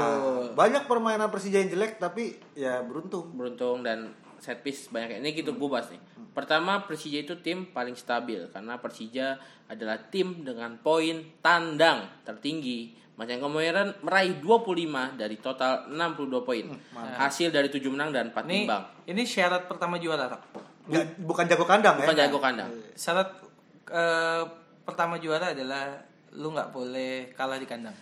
banyak permainan Persija yang jelek tapi ya beruntung. beruntung dan set piece banyak ini gitu gue bahas nih pertama Persija itu tim paling stabil karena Persija adalah tim dengan poin tandang tertinggi Macan Kemayoran meraih 25 dari total 62 poin Hmm, hasil dari 7 menang dan 4 Ini imbang ini syarat pertama juara. Rak. Nggak, bukan jago kandang bukan ya. jago kandang Syarat eh, pertama juara adalah lu nggak boleh kalah di kandang.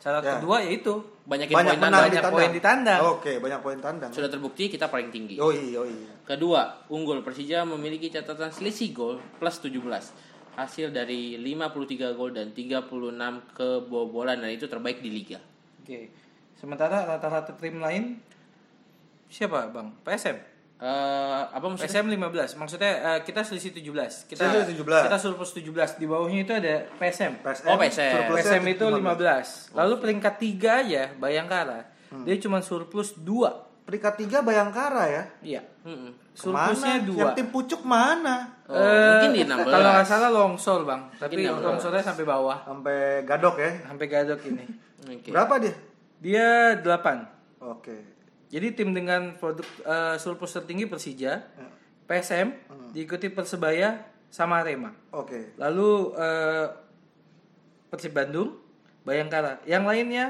Syarat Ya. kedua yaitu banyakin Banyak poin menang tandang di banyak tandang. poin di tandang. Oke, banyak poin tandang. sudah terbukti kita paling tinggi Yoi, yoi. Kedua, unggul Persija memiliki catatan selisih gol plus 17. Hasil dari 53 gol dan 36 kebobolan dan itu terbaik di liga. Oke. Sementara rata-rata tim lain siapa, Bang? PSM. Eh, apa maksudnya? PSM 15. Maksudnya eh, kita selisih 17. Kita Selisih 17. Kita surplus 17. Di bawahnya itu ada PSM. PSM, Oh, PSM. surplusnya PSM itu 15. Oh. Lalu peringkat 3 aja Bayangkara. Hmm. Dia cuma surplus 2. Peringkat 3 Bayangkara ya. Iya. Mm-mm. Surplusnya Kemana? 2. Yang tim pucuk mana? Oh, mungkin di 16. Eh, Kalau nggak salah longsor, Bang. Tapi Mungkin 16. longsornya sampai bawah. Sampai Gadok ya. Sampai gadok ini. Oke. Berapa dia? Dia 8. Oke. Jadi tim dengan produk eh, surplus tertinggi Persija, PSM, Hmm. diikuti Persebaya sama Arema. Oke. Lalu eh, Persib Bandung, Bayangkara. Yang lainnya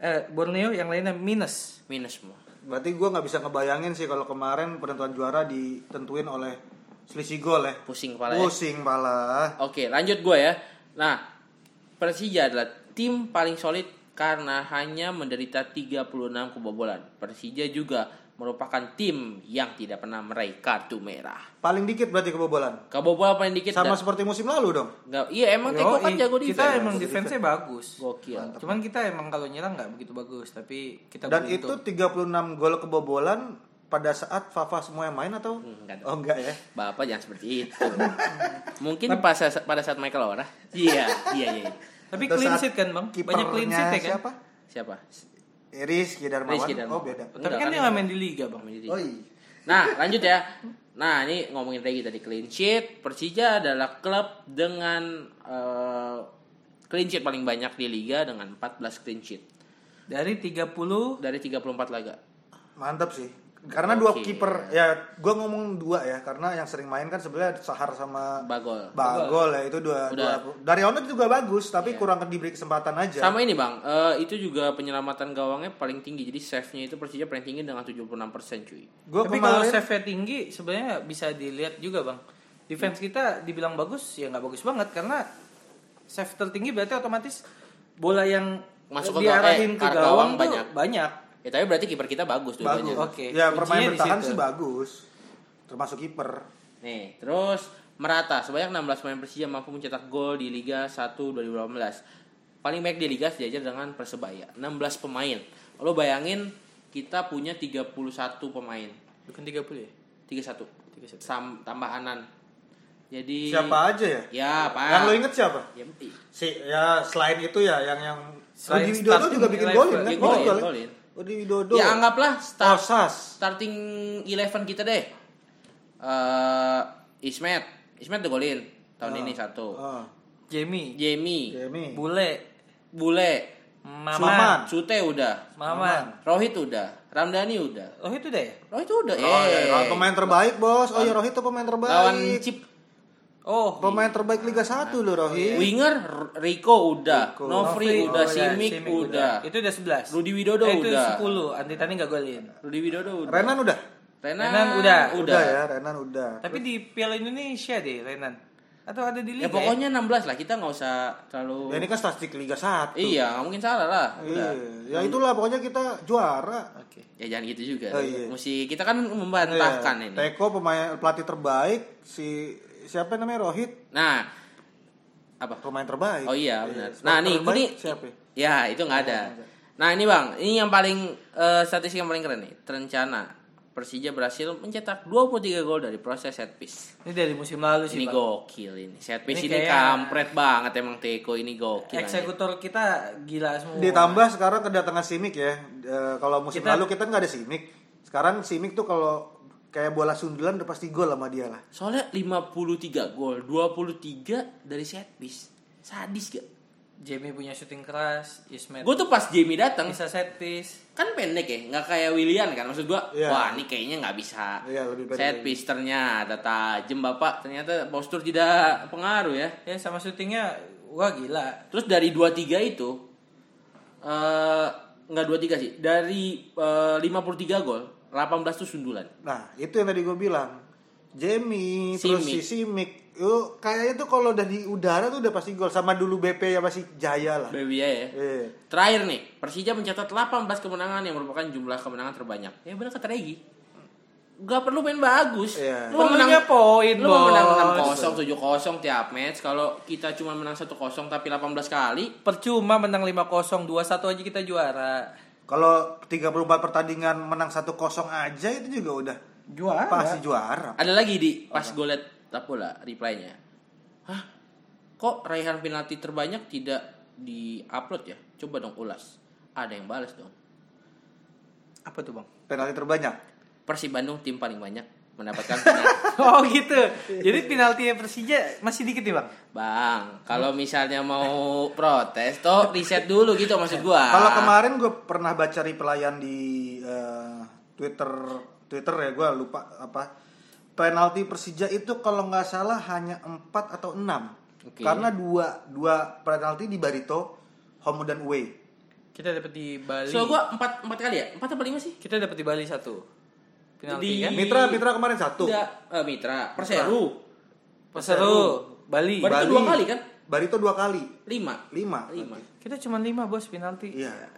eh, eh Borneo yang lainnya minus. minus semua Berarti gue nggak bisa ngebayangin sih kalau kemarin penentuan juara ditentuin oleh selisih gol ya. pusing kepala ya. Pusing pala. Oke, lanjut gue ya. Nah, Persija adalah tim paling solid karena hanya menderita 36 kebobolan. Persija juga merupakan tim yang tidak pernah meraih kartu merah. Paling dikit berarti kebobolan. Kebobolan paling dikit Sama dan- seperti musim lalu dong. Nggak- iya emang Teko kan Yoi, jago kita defense. emang defense-nya bagus. Gokil. Cuman kita emang kalau nyerang nggak begitu bagus, tapi kita Dan itu 36 beruntung. gol kebobolan pada saat Fafa semua yang main atau? enggak dong. oh enggak ya. Bapak jangan seperti itu. Mungkin pas pada saat Michael Ora. Iya, iya, iya. tapi Pada clean saat sheet kan, Bang? Banyak clean kipernya sheet ya kan? Siapa? Siapa? Eh, Rizky Darmawan. Rizky Darmawan. Oh beda. Enggak, Tapi kan kan dia nggak main di liga, Bang. Oh iya. Nah, lanjut ya. Nah, ini ngomongin lagi tadi clean sheet. Persija adalah klub dengan eh, clean sheet paling banyak di liga dengan 14 clean sheet Dari 30 dari 34 laga. Mantap sih. Karena dua Oke. kiper ya gua ngomong dua ya karena yang sering main kan sebenarnya Sahar sama Bagol. Bagol ya itu dua Udah. Iya. dua. Dari Onat juga bagus tapi kurang diberi kesempatan aja. Sama ini, Bang. Eh, itu juga penyelamatan gawangnya paling tinggi. Jadi save-nya itu Persija paling tinggi dengan 76% cuy. Gua Tapi kalau kemarin save tinggi sebenarnya bisa dilihat juga bang. Defense kita dibilang bagus ya nggak bagus banget karena save tertinggi berarti otomatis bola yang Masuk ke gawang, eh, diarahin ke ke gawang gawang, tuh banyak. banyak. Ya, tapi berarti kiper kita bagus bagus. dua-duanya. Oke. Ya Kuncinya permainan di bertahan situ. sih bagus. Termasuk kiper. Nih, terus merata sebanyak 16 pemain Persija mampu mencetak gol di Liga 1 2018. Paling baik di liga sejajar dengan Persebaya, 16 pemain. Lo bayangin kita punya 31 pemain. Bukan 30 ya? 31 31. Sam, tambahanan. Jadi Siapa aja ya? Ya, Iya. Pak. Yang lo inget siapa? Ya, i- Si ya selain itu ya yang yang Selain Rudi Widodo starting juga bikin eleven. golin kan? Bikin Golin, golin, golin. golin. Rudi Widodo. ya Oh, anggaplah start, Sas. starting 11 kita deh. Eh Ismet, Ismet udah golin tahun ini satu. Oh, Jamie, Jamie, Jamie. Bule, Bule, Maman. Maman, Sute udah. Maman. Rohit udah, Ramdhani udah. Oh itu deh ya? Rohit udah. Oh, ya, yeay. lawan pemain terbaik, Bos. Oh, ya Rohit tuh pemain lawan terbaik. Cip Oh, Pemain terbaik Liga 1 loh Rohit. winger R- Rico Iya. udah, Rico. Nofri Nofri. udah, Oh, iya, Simic, udah. Itu udah 11. Rudi Widodo eh, itu udah. 10. Andi Tani nggak golin. Rudi Widodo udah. Renan udah. Renan, Renan udah. udah. Udah ya, Renan udah. Tapi di Piala Indonesia deh Renan. Atau ada di Ya Iya. liga? pokoknya 16 lah, kita nggak usah Ya, terlalu ini kan statistik Liga 1. Iya, nggak mungkin salah lah. Iya. Udah. Ya itulah pokoknya kita juara. Oke. Ya jangan gitu juga. Oh, iya. Mesti kita kan membantahkan Iya. ini. Teko pemain pelatih terbaik si siapa namanya Rohit Nah, apa? pemain terbaik. Oh iya benar. Iya. Nah nih Terbaik ini siapa? ya? Ya itu nggak ada. Nah ini bang, ini yang paling eh, statistik yang paling keren nih. Terencana Persija berhasil mencetak 23 gol dari proses set piece. Ini dari musim lalu sih. Ini Bang. gokil ini. Set piece Ini ini, kayak- kampret banget emang Teko ini gokil. anjir. Eksekutor kita gila semua. Ditambah sekarang kedatangan Simic ya. E, kalau musim Kita- lalu kita nggak ada Simic. Sekarang Simic tuh kalau kayak bola sundulan udah pasti gol sama dia lah. Soalnya 53 gol, 23 dari set piece. Sadis gak? Jamie punya shooting keras, Ismet Gue tuh pas Jamie datang bisa set piece. kan pendek ya, nggak kayak Willian kan maksud gua. Iya. Wah ini kayaknya nggak bisa. Iya, lebih pendek set lagi. piece ternyata tajem bapak. Ternyata postur tidak pengaruh ya. Ya sama shootingnya wah gila. Terus dari 23 itu eh enggak 23 sih. Dari eh, 53 gol, 18 tuh sundulan. Nah, itu yang tadi gue bilang. Jamie terus si Simic. Simic. Yo, kayaknya tuh kalau udah di udara tuh udah pasti gol sama dulu BP ya masih Jaya lah. Baby ya. ya. Eh, Terakhir nih, Persija mencatat 18 kemenangan yang merupakan jumlah kemenangan terbanyak. Ya benar kata Regi. Gak perlu main bagus. Iya. Lu mau menang Perlunya poin, Lu mau menang Bos. 6-0, 7-0 tiap match. Kalau kita cuma menang 1-0 tapi 18 kali, Percuma menang 5-0, 2-1 aja kita juara. kalau 34 pertandingan menang 1-0 aja itu juga udah Juara. pasti juara. Ada lagi di pas gue liat Tapula reply-nya. Hah? Kok raihan penalti terbanyak tidak di-upload ya? Coba dong ulas. Ada yang balas dong. Apa tuh, Bang? Penalti terbanyak. Persib Bandung tim paling banyak mendapatkan penalti. oh gitu. Jadi penalti Persija masih dikit nih, Bang. Bang, kalau misalnya mau protes, toh riset dulu gitu maksud gua. Kalau kemarin gue pernah baca replyan di eh, Twitter Twitter ya gue lupa apa penalti Persija itu kalau nggak salah hanya 4 atau 6 Oke. karena dua dua penalti di Barito home dan away Kita dapat di Bali. So gua empat empat kali ya? Empat apa lima sih? Kita dapat di Bali satu. Penalti Di- kan? Mitra Mitra kemarin satu. Tidak, eh, Mitra, Perseru. Peseru Bali. Baru itu Bali. dua kali kan? Barito dua kali. Lima. Lima. Lima. Kita cuma lima bos penalti. Iya.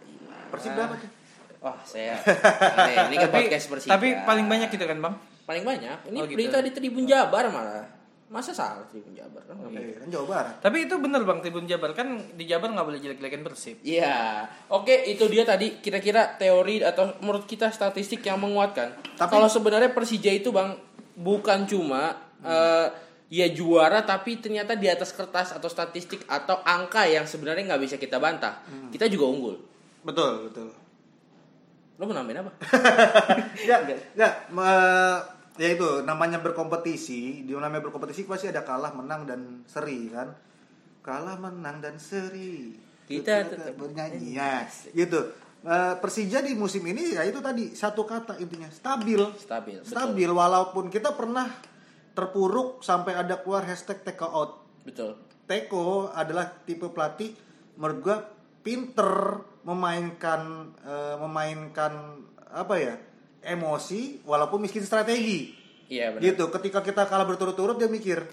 Persib berapa Ah. tuh? Wah, saya. Aneh, ini kan Tapi, podcast Persija. tapi paling banyak gitu kan bang? Paling banyak. Ini Oh, gitu. berita di Tribun Jabar malah. Masa salah Tribun Jabar kan? Oh, Iya, kan Jawa Barat. Tapi itu bener bang Tribun Jabar kan di Jabar nggak boleh jelek-jelekin Persib. Iya. Oke, itu dia tadi kira-kira teori atau menurut kita statistik yang menguatkan. Tapi- kalau sebenarnya Persija itu Bang bukan cuma Hmm. eh, ya juara tapi ternyata di atas kertas atau statistik atau angka yang sebenarnya nggak bisa kita bantah. Hmm. Kita juga unggul. Betul, betul. Lo mau nambahin apa? ya, ya, me- ya itu namanya berkompetisi. Di namanya berkompetisi pasti ada kalah, menang dan seri kan. Kalah, menang dan seri. Kita tetap bernyanyi ya, gitu. Eh, Persija di musim ini ya itu tadi satu kata intinya stabil. Stabil. betul. Stabil walaupun kita pernah terpuruk sampai ada keluar hashtag take out. Betul. Teko adalah tipe pelatih menurut gua pinter memainkan eh, memainkan apa ya emosi walaupun miskin strategi Iya benar. gitu ketika kita kalah berturut-turut dia mikir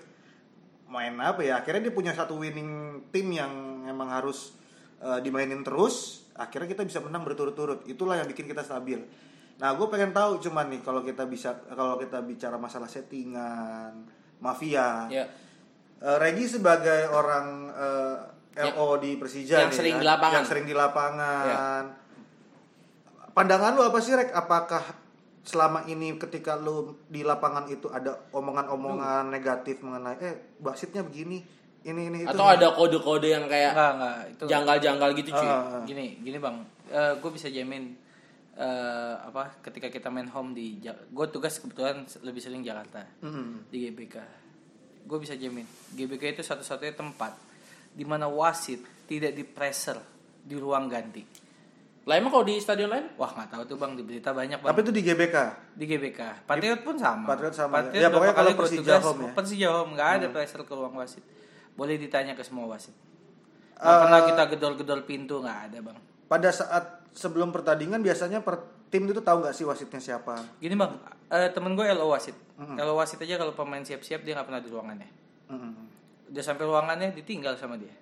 main apa ya akhirnya dia punya satu winning tim yang emang harus eh, dimainin terus akhirnya kita bisa menang berturut-turut itulah yang bikin kita stabil nah gue pengen tahu cuman nih kalau kita bisa kalau kita bicara masalah settingan mafia Iya. Eh, Regi sebagai orang eh, LO di Persija Ya. yang nih, sering kan? di lapangan. Ya. yang sering di lapangan. Pandangan lu apa sih Rek? Apakah selama ini ketika lu di lapangan itu ada omongan-omongan negatif mengenai eh basitnya begini, ini ini itu. Atau ada kode-kode yang kayak gitu kan. Enggak enggak itu. Eh, janggal-janggal gitu cuy. Ah, ah. Gini gini bang, gue bisa jamin eh, apa ketika kita main home di gue tugas kebetulan lebih sering Jakarta. Mm-mm. di GBK. Gue bisa jamin, GBK itu satu-satunya tempat di mana wasit tidak di pressure di ruang ganti. Lah emang kalau di stadion lain? Wah nggak tahu tuh bang, di berita banyak bang. Tapi itu di GBK. di GBK, Patriot pun sama. Patriot sama, ya. Ya, berapa pokoknya kali kalau gua Persija tugas, home ya. Hmm. Persija home nggak ada pressure ke ruang wasit. Boleh ditanya ke semua wasit. Eh, Nggak pernah kita gedor-gedor pintu nggak ada bang. Pada saat sebelum pertandingan biasanya per tim itu tahu nggak sih wasitnya siapa? Gini bang, eh, temen gue LO wasit. Hmm. LO wasit aja kalau pemain siap-siap dia nggak pernah di ruangannya. Mm-mm. udah sampai ruangannya ditinggal sama dia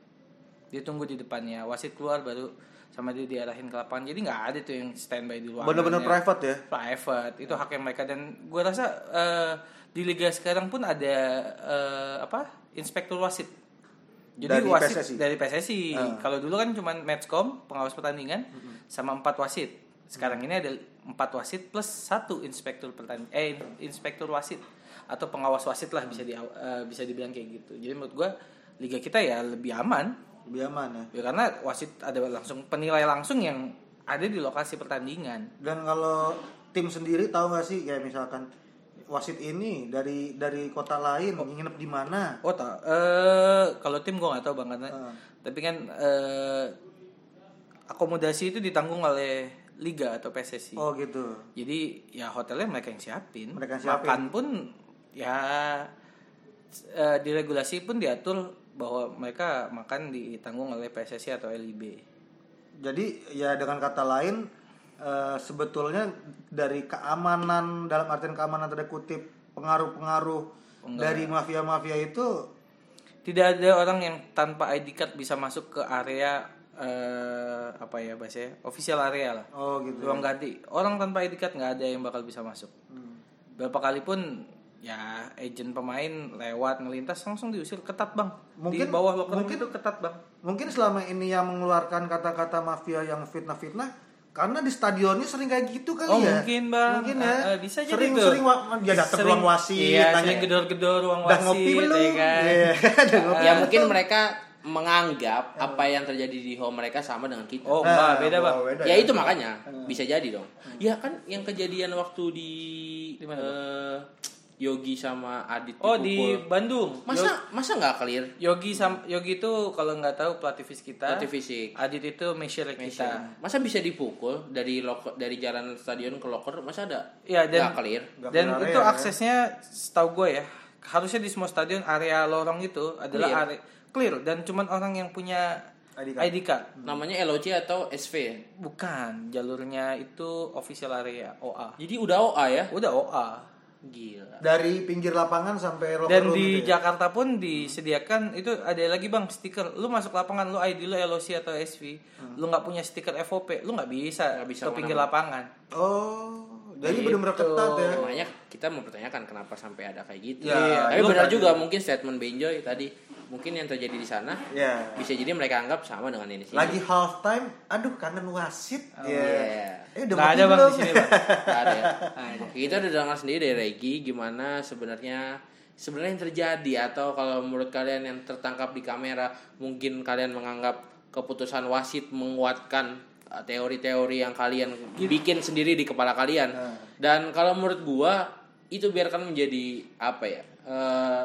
dia tunggu di depannya wasit keluar baru sama dia diarahin ke lapangan jadi nggak ada tuh yang standby di ruangannya Bener-bener private ya. private itu haknya mereka dan gue rasa eh, di liga sekarang pun ada eh, apa inspektur wasit jadi Dari wasit PSSI. dari PSSI kalau dulu kan cuman matchcom pengawas pertandingan sama empat wasit sekarang ini ada empat wasit plus satu inspektur pertandingan eh inspektur wasit atau pengawas wasit lah bisa di eh, bisa dibilang kayak gitu jadi menurut gue liga kita ya lebih aman Lebih aman ya. ya karena wasit ada langsung penilai langsung yang ada di lokasi pertandingan Dan kalau tim sendiri tahu nggak sih kayak misalkan wasit ini dari dari kota lain nginep di mana? Oh tak, eh kalau tim gue nggak tahu bang karena, Ah. tapi kan eh akomodasi itu ditanggung oleh liga atau PSSI. Oh gitu. Jadi ya hotelnya mereka yang siapin, Mereka yang siapin. makan pun ya eh, di regulasi pun diatur bahwa mereka makan ditanggung oleh PSSI atau LIB. Jadi ya dengan kata lain eh, sebetulnya dari keamanan dalam artian keamanan tanda kutip pengaruh-pengaruh dari mafia-mafia itu Tidak ada orang yang tanpa ID card bisa masuk ke area eh apa ya bahasanya official area lah. oh gitu. ruang ganti orang tanpa ID card nggak ada yang bakal bisa masuk Hmm. berapa kali pun ya agent pemain lewat ngelintas langsung diusir ketat bang Mungkin- di bawah locker room mungkin- itu ketat bang Mungkin selama ini yang mengeluarkan kata-kata mafia yang fitnah-fitnah karena di stadionnya sering kayak gitu kali oh ya. mungkin bang Mungkin ya. Eh, eh, bisa jadi sering, tuh. sering wa- dia datang ke Sering- ruang wasit, iya, tanya, sering gedor-gedor ruang udah wasit ngopi belum? ya kan? Iya, udah ngopi. Ya mungkin mereka menganggap apa yang terjadi di home mereka sama dengan kita. oh Nah, mbak beda bang wah, beda ya ya. itu makanya bisa jadi dong ya kan yang kejadian waktu di Di mana, eh, Yogi sama Adit oh di dipukul. Bandung masa masa nggak clear Yogi sam Yogi itu kalau nggak tahu pelatih kita Pelatih fisik. Adit itu mesir kita masa bisa dipukul dari loker dari jalan stadion ke loker masa ada Iya, dan- nggak clear Nggak Dan keluar area, itu ya. aksesnya setahu gue ya, harusnya di semua stadion area lorong itu adalah Clear. area clear dan cuman orang yang punya ID card. ID card. Namanya LOC atau SV ya? Bukan, jalurnya itu official area OA. Jadi udah OA ya? Udah OA. Gila. Dari pinggir lapangan sampai locker Dan room di gitu ya? Jakarta pun disediakan itu ada lagi bang stiker. Lu masuk lapangan lu ID lu LOC atau SV, Hmm. lu nggak punya stiker FOP, lu nggak bisa Nggak bisa ke pinggir lapangan. Oh, jadi Gitu. benar-benar ketat ya. Makanya kita mempertanyakan kenapa sampai ada kayak gitu. Ya, Iya, Tapi itu benar tadi. juga mungkin statement Benjoy tadi mungkin yang terjadi di sana Ya. bisa jadi mereka anggap sama dengan ini Gitu. sih. Lagi half time, aduh kangen wasit. ya. iya. Eh udah Oh, mati Nggak ada bang belum? di sini bang. Nggak ada ya. Oke, Kita udah dengar sendiri dari Regi gimana sebenarnya sebenarnya yang terjadi atau kalau menurut kalian yang tertangkap di kamera mungkin kalian menganggap keputusan wasit menguatkan eh, teori-teori yang kalian bikin sendiri di kepala kalian. Dan kalau menurut gua itu biarkan menjadi apa ya? eh,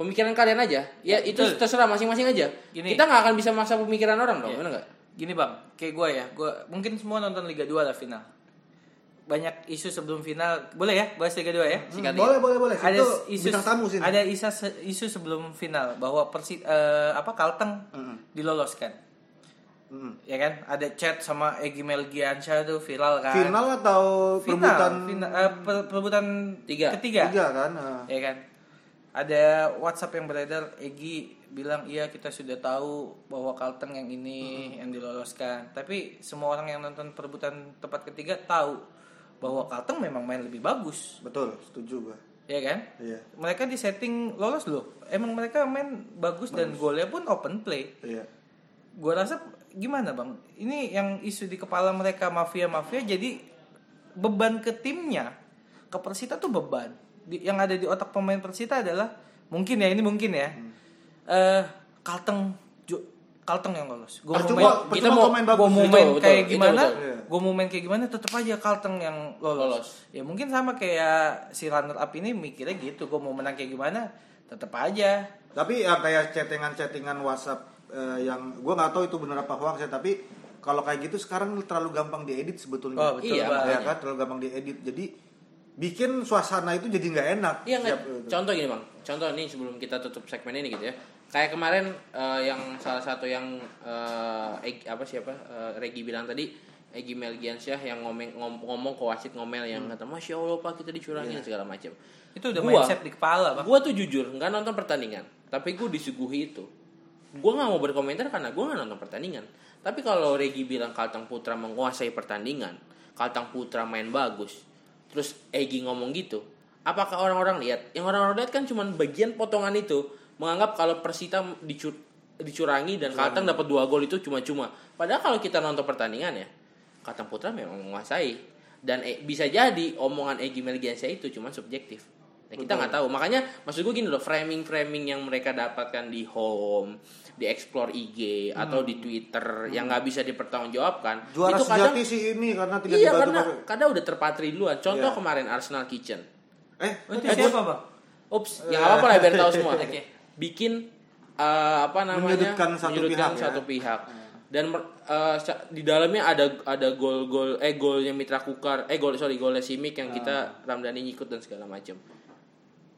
pemikiran kalian aja. Ya itu terserah masing-masing aja. Gini. Kita nggak akan bisa maksa pemikiran orang dong, bener nggak? Gini bang, kayak gue ya, gue mungkin semua nonton Liga 2 lah final. Banyak isu sebelum final, boleh ya bahas Liga 2 ya? Hmm, boleh, boleh, boleh. ada Itu isu bintang tamu sih. ada isu isu sebelum final bahwa persi eh, apa Kalteng Hmm. diloloskan Mm. ya kan ada chat sama Egy Melgiansyah tuh viral kan Final atau Final, perebutan final, Iya. eh, per- perebutan Tiga. ketiga tiga kan? Nah. ya kan ada WhatsApp yang beredar Egi bilang iya kita sudah tahu bahwa Kalteng yang ini yang diloloskan tapi semua orang yang nonton perebutan tempat ketiga tahu bahwa Kalteng memang main lebih bagus Betul, setuju gua. ya kan Iya. mereka di setting lolos loh emang mereka main bagus, dan golnya pun open play Iya. gue rasa gimana bang ini yang isu di kepala mereka mafia mafia jadi beban ke timnya ke persita tuh beban Di- yang ada di otak pemain persita adalah mungkin ya ini mungkin ya Hmm. eh kalteng Ju- kalteng yang lolos Ah, gue mau Percuma, main percuma kita mau- kau main gue bagus. mau Betul, main betul, kayak itu gimana betul. gue mau main kayak gimana tetep aja kalteng yang lolos. Iya. Lolos. ya mungkin sama kayak si runner up ini mikirnya gitu gue mau menang kayak gimana tetep aja Tapi ya kayak chattingan-chattingan WhatsApp eh, yang gua nggak tahu itu bener apa hoax ya, tapi kalau kayak gitu sekarang terlalu gampang diedit sebetulnya. Oh, betul, Iya, Bang. ya kan terlalu gampang diedit. Jadi bikin suasana itu jadi nggak enak. Iya nggak? Siap, gitu. Contoh gini bang, contoh nih sebelum kita tutup segmen ini gitu ya. Kayak kemarin eh, yang salah satu yang eh, Egy- apa siapa eh, Regi bilang tadi Egi Melgiansyah yang ngomong ngom- ngomong ke wasit ngomel yang kata masya allah pak kita dicurangin segala macam. itu udah Gua- mindset di kepala bang Gue tuh jujur nggak nonton pertandingan, tapi gue disuguhi itu. Gue nggak mau berkomentar karena gue nggak nonton pertandingan. Tapi kalau Regi bilang Kaltang Putra menguasai pertandingan, Kaltang Putra main bagus, terus Egi ngomong gitu, apakah orang-orang lihat? Yang orang-orang lihat kan cuma bagian potongan itu menganggap kalau Persita dicu- dicurangi dan Kaltang dapat dua gol itu cuma-cuma. Padahal kalau kita nonton pertandingan ya, Kaltang Putra memang menguasai dan eh, bisa jadi omongan Egy Melgiansyah itu cuma subjektif. Nah, kita nggak tahu. Makanya maksud gue gini loh, framing-framing yang mereka dapatkan di home, di explore IG atau di Twitter yang nggak bisa Hmm. dipertanggungjawabkan, Juara itu kadang sejati sih ini karena tidak iya dibantu karena pakai- kadang udah terpatri duluan. Contoh Iya. kemarin Arsenal Kitchen. Eh, itu Eh, siapa bang Ups, yang apa ya lah biar tahu semua. Oke. Bikin eh, apa namanya? Menyudutkan satu pihak menyudutkan ya. satu pihak. Dan mer- eh, sa- di dalamnya ada ada gol-gol eh golnya Mitra Kukar, eh gol sorry golnya Simic Hmm. yang kita Ramdhani ngikut dan segala macam.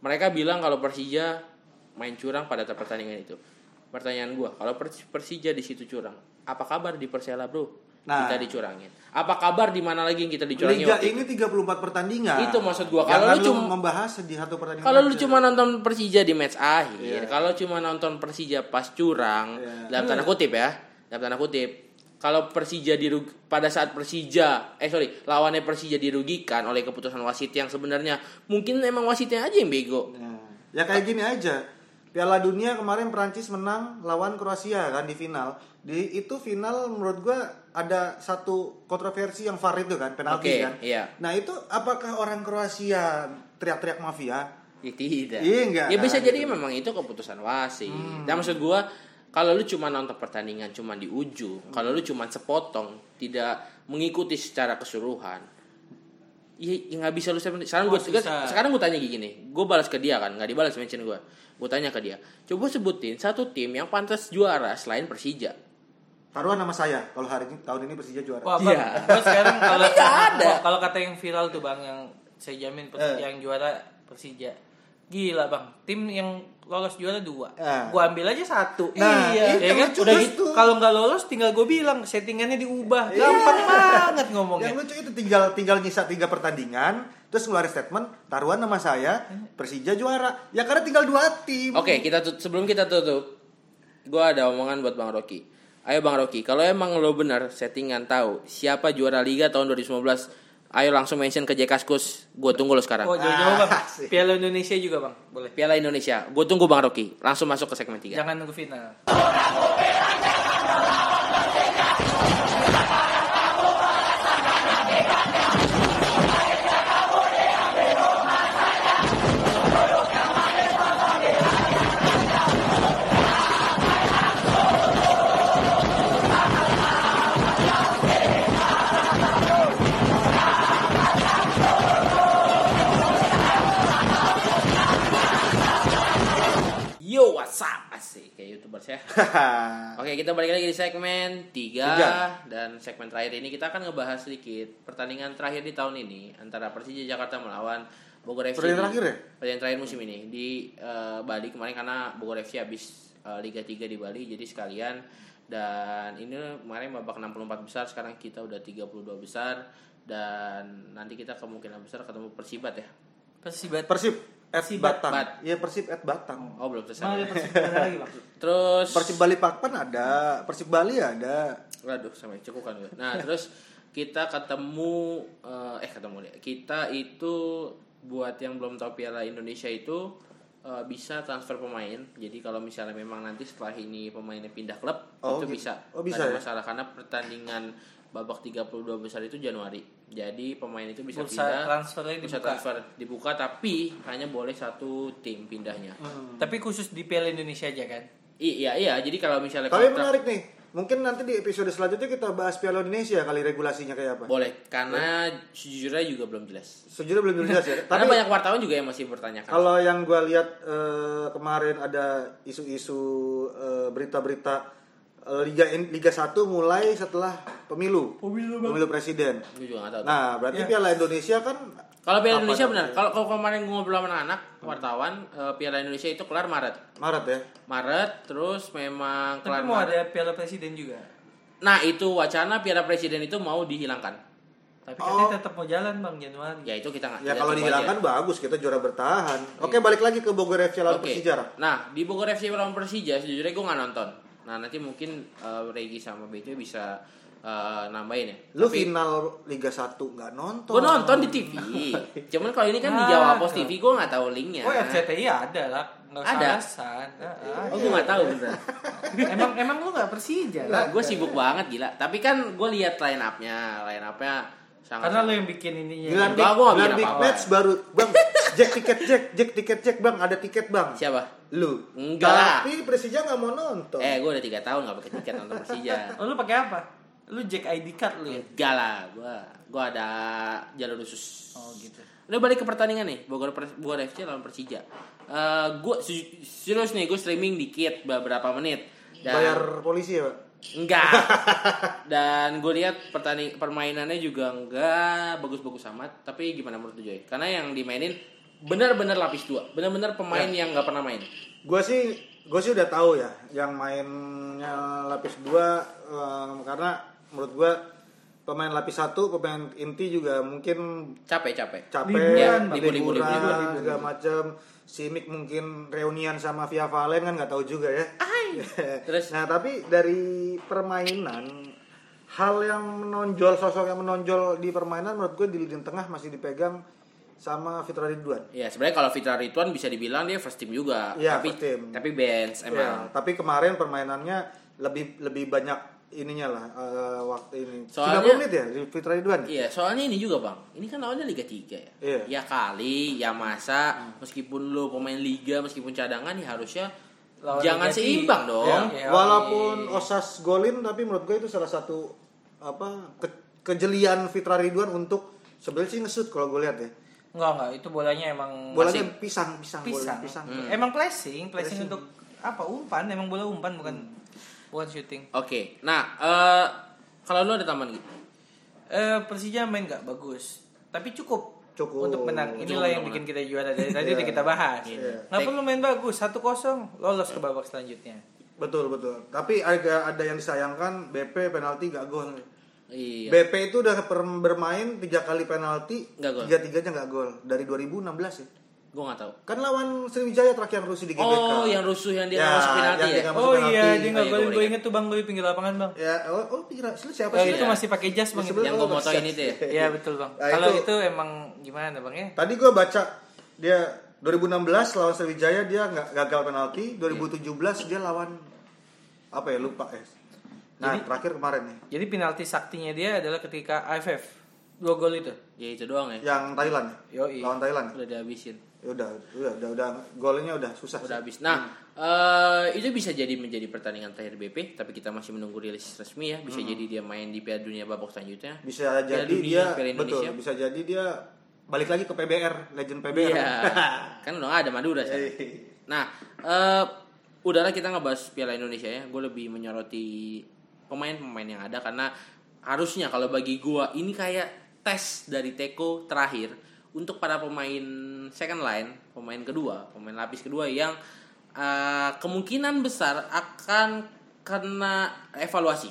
Mereka bilang kalau Persija main curang pada pertandingan itu. Pertanyaan gua, kalau Pers- Persija di situ curang, apa kabar di Persela, Bro? Nah. kita dicurangin. Apa kabar di mana lagi yang kita dicurangi? Liga waktu ini itu? 34 pertandingan. Itu maksud gua. Kalau Jangan lu lu cuma- membahas di satu pertandingan. Kalau lu aja. cuma nonton Persija di match akhir, Iya. kalau cuma nonton Persija pas curang, Iya. dalam tanda kutip ya, dalam tanda kutip, kalau Persija dirug pada saat Persija, eh sorry, lawannya Persija dirugikan oleh keputusan wasit yang sebenarnya mungkin emang wasitnya aja yang bego. Nah, Ya kayak gini aja. Piala Dunia kemarin Prancis menang lawan Kroasia kan di final. Di itu final menurut gua ada satu kontroversi yang VAR itu kan penalti Oke, kan. iya. Nah, itu apakah orang Kroasia teriak-teriak mafia? Ya tidak. Iya, enggak Ya bisa kan, jadi memang itu keputusan wasit. Dan maksud gua kalau lu cuma nonton pertandingan cuma di ujung, kalau lu cuma sepotong, tidak mengikuti secara keseluruhan. Iya, ya nggak bisa lu statement. Sekarang gue susah. sekarang gue tanya kayak gini, gue balas ke dia kan, nggak dibalas mention gue. Gue tanya ke dia, coba sebutin satu tim yang pantas juara selain Persija. Taruhan nama saya kalau hari ini tahun ini Persija juara. Wah, Iya. bang, gua sekarang kalau Tapi nggak ada. Eh. kalau kata yang viral tuh bang yang saya jamin Persija yang juara Persija. Gila bang, tim yang lolos juara dua, Ah. gua ambil aja satu. Nah, itu iya, ya kan? lucu Udah terus gitu, tuh. Iya. kalau nggak lolos tinggal gue bilang settingannya diubah, gampang banget ngomongnya. ya. Yang lucu itu tinggal tinggal nyisa tiga pertandingan, terus ngeluarin statement taruhan nama saya Persija juara. Ya karena tinggal dua tim. Oke, kita tut- sebelum kita tutup, gue ada omongan buat Bang Rocky. Ayo Bang Rocky, kalau emang lo benar settingan tahu siapa juara liga tahun 2019, ayo langsung mention ke JK Skus. Gue tunggu lo Ah, sekarang. Oh jauh-jauh bang, asik. Piala Indonesia juga bang, boleh. Piala Indonesia, gue tunggu Bang Rocky. Langsung masuk ke segmen 3. Jangan nunggu final. Yo, what's up? Asik, kayak youtuber saya. Oke, kita balik lagi di segmen 3 dan segmen terakhir ini kita akan ngebahas sedikit pertandingan terakhir di tahun ini antara Persija Jakarta melawan Bogor FC. Pertandingan di- terakhir ya? Pertandingan terakhir musim ini di eh, Bali kemarin karena Bogor FC habis eh, Liga 3 di Bali jadi sekalian dan ini kemarin babak 64 besar sekarang kita udah 32 besar dan nanti kita kemungkinan besar ketemu Persibat ya. Persibat. Persib at Batang. Bat. Iya Persib at Batang. Oh, belum Nah, selesai. Mana iya. ada Persibat lagi bang? Terus Persib Bali Pakpan ada, Persib Bali ada. Waduh, sampai cukup kan gue. Nah, terus kita ketemu eh, eh ketemu deh. Kita itu buat yang belum tahu Piala Indonesia itu eh, bisa transfer pemain. Jadi kalau misalnya memang nanti setelah ini pemainnya pindah klub Oh, itu gitu. bisa. Oh, bisa Nggak ada ya? masalah karena pertandingan babak 32 besar itu Januari. Jadi pemain itu bisa Bursa pindah. transfernya bursa dibuka. transfer dibuka tapi hanya boleh satu tim pindahnya. Hmm. Tapi khusus di Piala Indonesia aja kan? I- iya iya, jadi kalau misalnya Tapi kontrak- menarik nih. Mungkin nanti di episode selanjutnya kita bahas Piala Indonesia kali regulasinya kayak apa. boleh karena sejujurnya juga belum jelas. Sejujurnya belum jelas ya. Karena Tapi banyak wartawan juga yang masih bertanyakan. Kalau yang gua lihat eh, kemarin ada isu-isu eh, berita-berita eh, Liga N- Liga 1 mulai setelah pemilu. Pemilu, presiden. Gue juga nggak tahu. Nah, berarti Piala Indonesia kan kalau Apa Piala Indonesia tuh? benar. Kalau kalau kemarin gue ngobrol sama anak-anak wartawan, eh, Piala Indonesia itu kelar Maret. Maret ya. Maret terus memang Tapi kelar mau Maret. ada Piala Presiden juga. Nah, itu wacana Piala Presiden itu mau dihilangkan. Tapi Oh. katanya tetap mau jalan bang Januari. Ya itu kita nggak. Ya kita kalau tunggu dihilangkan aja. bagus, kita juara bertahan. Oke, balik lagi ke Bogor FC lawan iya. Oke. Persija. Rak. Nah, di Bogor FC lawan Persija sejujurnya gue nggak nonton. Nah, nanti mungkin eh, Regi sama Bejo bisa eh, nambahin ya. Lu final Liga 1 nggak nonton. Nah, Gue nonton di TV. Cuman kalau ini kan di Ah. Jawa Pos TV gue nggak tahu linknya. ya, Oh RCTI ada lah, nggak Ada. ada. Oh, gue nggak tahu beneran. emang emang lu nggak Persija lah. gue sibuk banget gila tapi kan gue lihat line upnya line upnya sangat Karena lu yang bikin ininya. Gila Iya, Enggak, big, gua nggak gila bikin big apa-apa. match baru. Bang, Jack tiket Jack, Jack tiket Jack, Bang, ada tiket, Bang. siapa Lu. Enggak. Tapi Persija nggak mau nonton. eh gue udah tiga tahun gak pakai tiket nonton Persija Oh, lu pakai apa? Lu jack ID card lu ya? enggak lah gue gue ada jalur khusus Oh gitu. udah balik ke pertandingan nih Bogor Pers- Bogor FC lawan Persija Eh gue serius nih gue streaming dikit beberapa menit dan Bayar polisi ya, Pak. enggak dan gue lihat pertanding permainannya juga enggak bagus-bagus amat tapi gimana menurut lu Joy karena yang dimainin benar-benar lapis dua benar-benar pemain Ya. yang nggak pernah main gue sih gue sih udah tahu ya yang mainnya lapis 2 em, karena menurut gue pemain lapis 1 pemain inti juga mungkin capek capek capek Liburan, liburan, Bang. Libur, libur, libur, libur. segala macam simik mungkin reunian sama via valen kan nggak tahu juga ya Terus? nah tapi dari permainan hal yang menonjol sosok yang menonjol di permainan menurut gue di lini tengah masih dipegang sama Fitra Ridwan ya sebenarnya kalau Fitra Rituan bisa dibilang dia first team juga Iya, tapi first team. tapi bench Ya, emang tapi kemarin permainannya lebih lebih banyak ininya lah eh, waktu ini. Soalnya- 90 menit ya di Fitra Ridwan. Iya, soalnya ini juga bang, ini kan awalnya Liga 3 ya. Iya. Hmm. Ya kali, ya masa, meskipun lo pemain Liga, meskipun cadangan, ya harusnya Lawan jangan Liga seimbang dong. Ya, iya. walaupun Osas golin tapi menurut gue itu salah satu apa ke- kejelian Fitra Ridwan untuk sebenarnya sih ngesut kalau gue lihat ya. Enggak enggak, itu bolanya emang Bolanya pisang pisang pisang. bola Hmm. pisang. Emang placing, placing Hmm. untuk apa? Umpan, emang bola umpan bukan bukan shooting. Oke, nah eh kalau lo ada tambahan gitu, Eh Persija main nggak bagus, tapi cukup. Cukup. Cukup. untuk menang. Inilah yang bikin kita juara dari tadi udah kita bahas. Iya. Nggak perlu main bagus, 1-0 lolos ke babak selanjutnya. Betul betul. Tapi ada ada yang disayangkan BP penalti gak gol. Iya. BP itu udah per- bermain tiga kali penalti, Nggak gol. tiga tiganya nggak gol dari 2016 ya. Gue nggak tahu. Kan lawan Sriwijaya terakhir yang rusuh di GBK. Oh, yang rusuh yang dia Ya, masuk yang penalti ya. dia nggak- Masuk Oh penalti. iya, dia Oh, nggak iya, golin. gua Gue inget tuh bang gue pinggir lapangan bang. Ya, oh, oh kira siapa kan? sih? Oh, itu iya. masih pakai jas bang. Sebelum- yang gue motoin itu ya. Iya betul bang. Nah, Kalau itu- itu emang gimana bang ya? Tadi gue baca dia 2016 lawan Sriwijaya dia nggak gagal penalti, Iya. 2017 dia lawan apa ya lupa ya. Nah terakhir kemarin nih Jadi penalti saktinya dia adalah ketika AFF dua gol itu. Ya itu doang ya. yang Thailand ya? Yoi. lawan Thailand. Udah dihabisin. Ya udah udah udah, udah golnya udah susah. sih. Udah habis. Nah, Hmm. eh, itu bisa jadi menjadi pertandingan terakhir BP, tapi kita masih menunggu rilis resmi ya. Bisa jadi dia main di Piala Dunia babak selanjutnya. Hmm. Bisa jadi Dunia, dia Piala betul Indonesia. bisa jadi dia balik lagi ke PBR Legend PBR. Iya. kan udah nggak ada Madura sekarang. Nah, eh udahlah kita ngebahas Piala Indonesia ya. Gue lebih menyoroti pemain-pemain yang ada karena harusnya kalau bagi gua ini kayak tes dari Teko terakhir untuk para pemain second line, pemain kedua, pemain lapis kedua yang eh, kemungkinan besar akan kena evaluasi.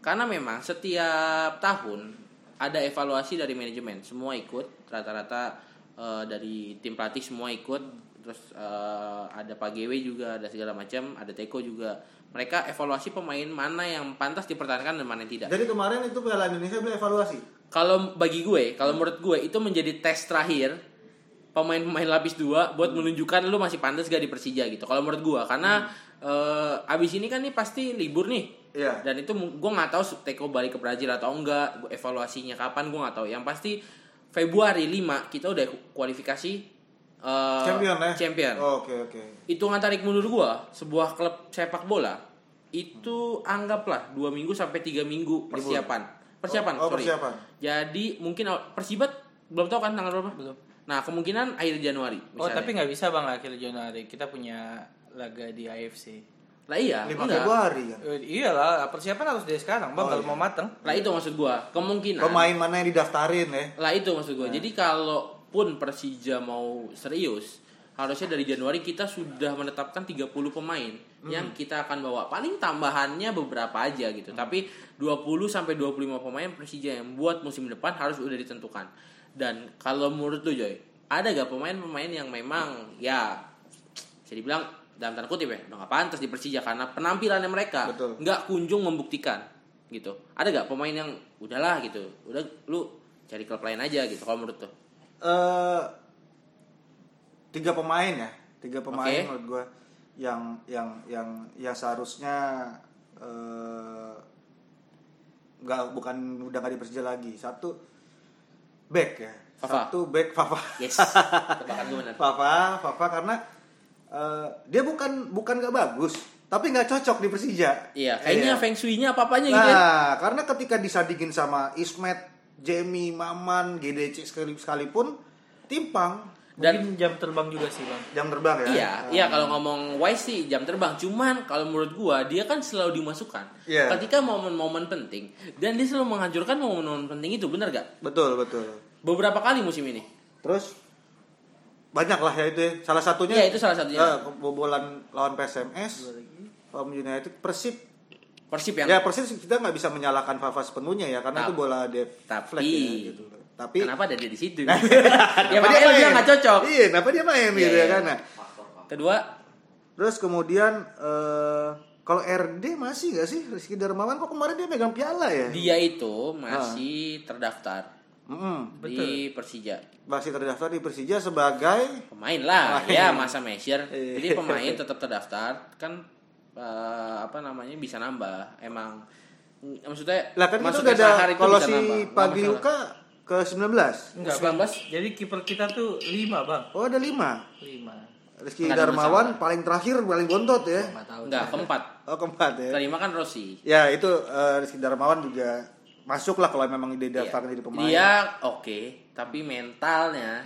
Karena memang setiap tahun ada evaluasi dari manajemen, semua ikut, rata-rata eh, dari tim pelatih semua ikut, terus eh, ada Pak GW juga, ada segala macam, ada Teko juga. Mereka evaluasi pemain mana yang pantas dipertahankan dan mana yang tidak. Jadi kemarin itu Piala Indonesia beli evaluasi. Kalau bagi gue, kalau menurut gue itu menjadi tes terakhir pemain-pemain lapis dua buat menunjukkan lu masih pantas gak di Persija gitu. Kalau menurut gue, karena eh, abis ini kan nih pasti libur nih Iya. dan itu gue nggak tahu Teko balik ke Brazil atau enggak gua- evaluasinya kapan gue nggak tahu yang pasti Februari 5 kita udah kualifikasi eh, Champion ya. champion Oh, Oke oke. hitungan tarik mundur gue sebuah klub sepak bola itu anggaplah dua minggu sampai tiga minggu persiapan persiapan Oh, oh, sorry. persiapan. jadi mungkin aw- persibat belum tahu kan tanggal berapa Belum. nah kemungkinan akhir Januari Oh misalnya. tapi ya. nggak bisa bang akhir Januari kita punya laga di AFC. lah iya 5 enggak. Februari kan. Eh, iyalah persiapan harus dari sekarang bang Oh, kalau iya. mau mateng. lah itu maksud gue kemungkinan Pemain mana yang didaftarin ya? Lah itu maksud gue. Jadi kalaupun Persija mau serius, harusnya dari Januari kita sudah menetapkan 30 pemain yang kita akan bawa. Paling tambahannya beberapa aja gitu. Tapi 20 sampai 25 pemain Persija yang buat musim depan harus udah ditentukan. Dan kalau menurut lu Joy, ada gak pemain-pemain yang memang ya bisa dibilang dalam tanda kutip ya udah gak pantas di Persija karena penampilannya mereka Betul. nggak kunjung membuktikan gitu ada gak pemain yang udahlah gitu udah lu cari klub lain aja gitu kalau menurut tuh eh tiga pemain ya tiga pemain Oke. menurut gue yang yang yang ya seharusnya eh, nggak bukan udah nggak di Persija lagi satu back ya Fafa. satu back Fafa yes tebakan gue bener Fafa Fafa karena eh, dia bukan bukan nggak bagus tapi nggak cocok di Persija iya kayaknya Iya. feng shui-nya apa apanya gitu ya. Nah, karena ketika disandingin sama Ismet, Jamie, Maman, GDC sekali- sekalipun timpang dan Mungkin jam terbang juga sih bang. jam terbang ya. Iya, Nah, iya kalau ngomong wise sih jam terbang. Cuman kalau menurut gua dia kan selalu dimasukkan. Iya. Ketika momen-momen penting dan dia selalu menghancurkan momen-momen penting itu, bener gak? Betul, betul. Beberapa kali musim ini. Terus banyak lah ya itu ya. Salah satunya Iya, itu salah satunya. eh, kebobolan lawan PSMS, lawan United, Persib. Persib yang Ya, Persib kita nggak bisa menyalahkan Fafa sepenuhnya ya karena itu Tapi- bola def tapi- flag ya, gitu. Tapi Kenapa ada dia di situ? ya berarti Kenapa emang dia main? nggak cocok. Iya, kenapa dia main Iya, gitu ya iya. kan. Nah, Kedua, Terus kemudian eh kalau RD masih nggak sih Rizky Darmawan kok kemarin dia megang piala ya? dia itu masih terdaftar Mm-mm. di Persija. Masih terdaftar di Persija sebagai Pemain lah, Pemain. ya masa measure. Iya. Jadi pemain tetap terdaftar kan eh, apa namanya bisa nambah. Emang mm, maksudnya lah kan kita masuk udah ada SHR itu kalau bisa si kan- nambah. Nggak Pagi masalah. Luka ke 19. Enggak 19. bang. Jadi kiper kita tuh lima bang. Oh ada 5. Lima. Rizky Nggak ada Darmawan paling terakhir paling bontot ya. Empat tahun. Nggak, keempat. Oh keempat ya. Terima kan Rossi. Ya itu eh, Rizky Darmawan juga masuk lah kalau memang didaftarkan jadi pemain. Iya. Dia oke, tapi mentalnya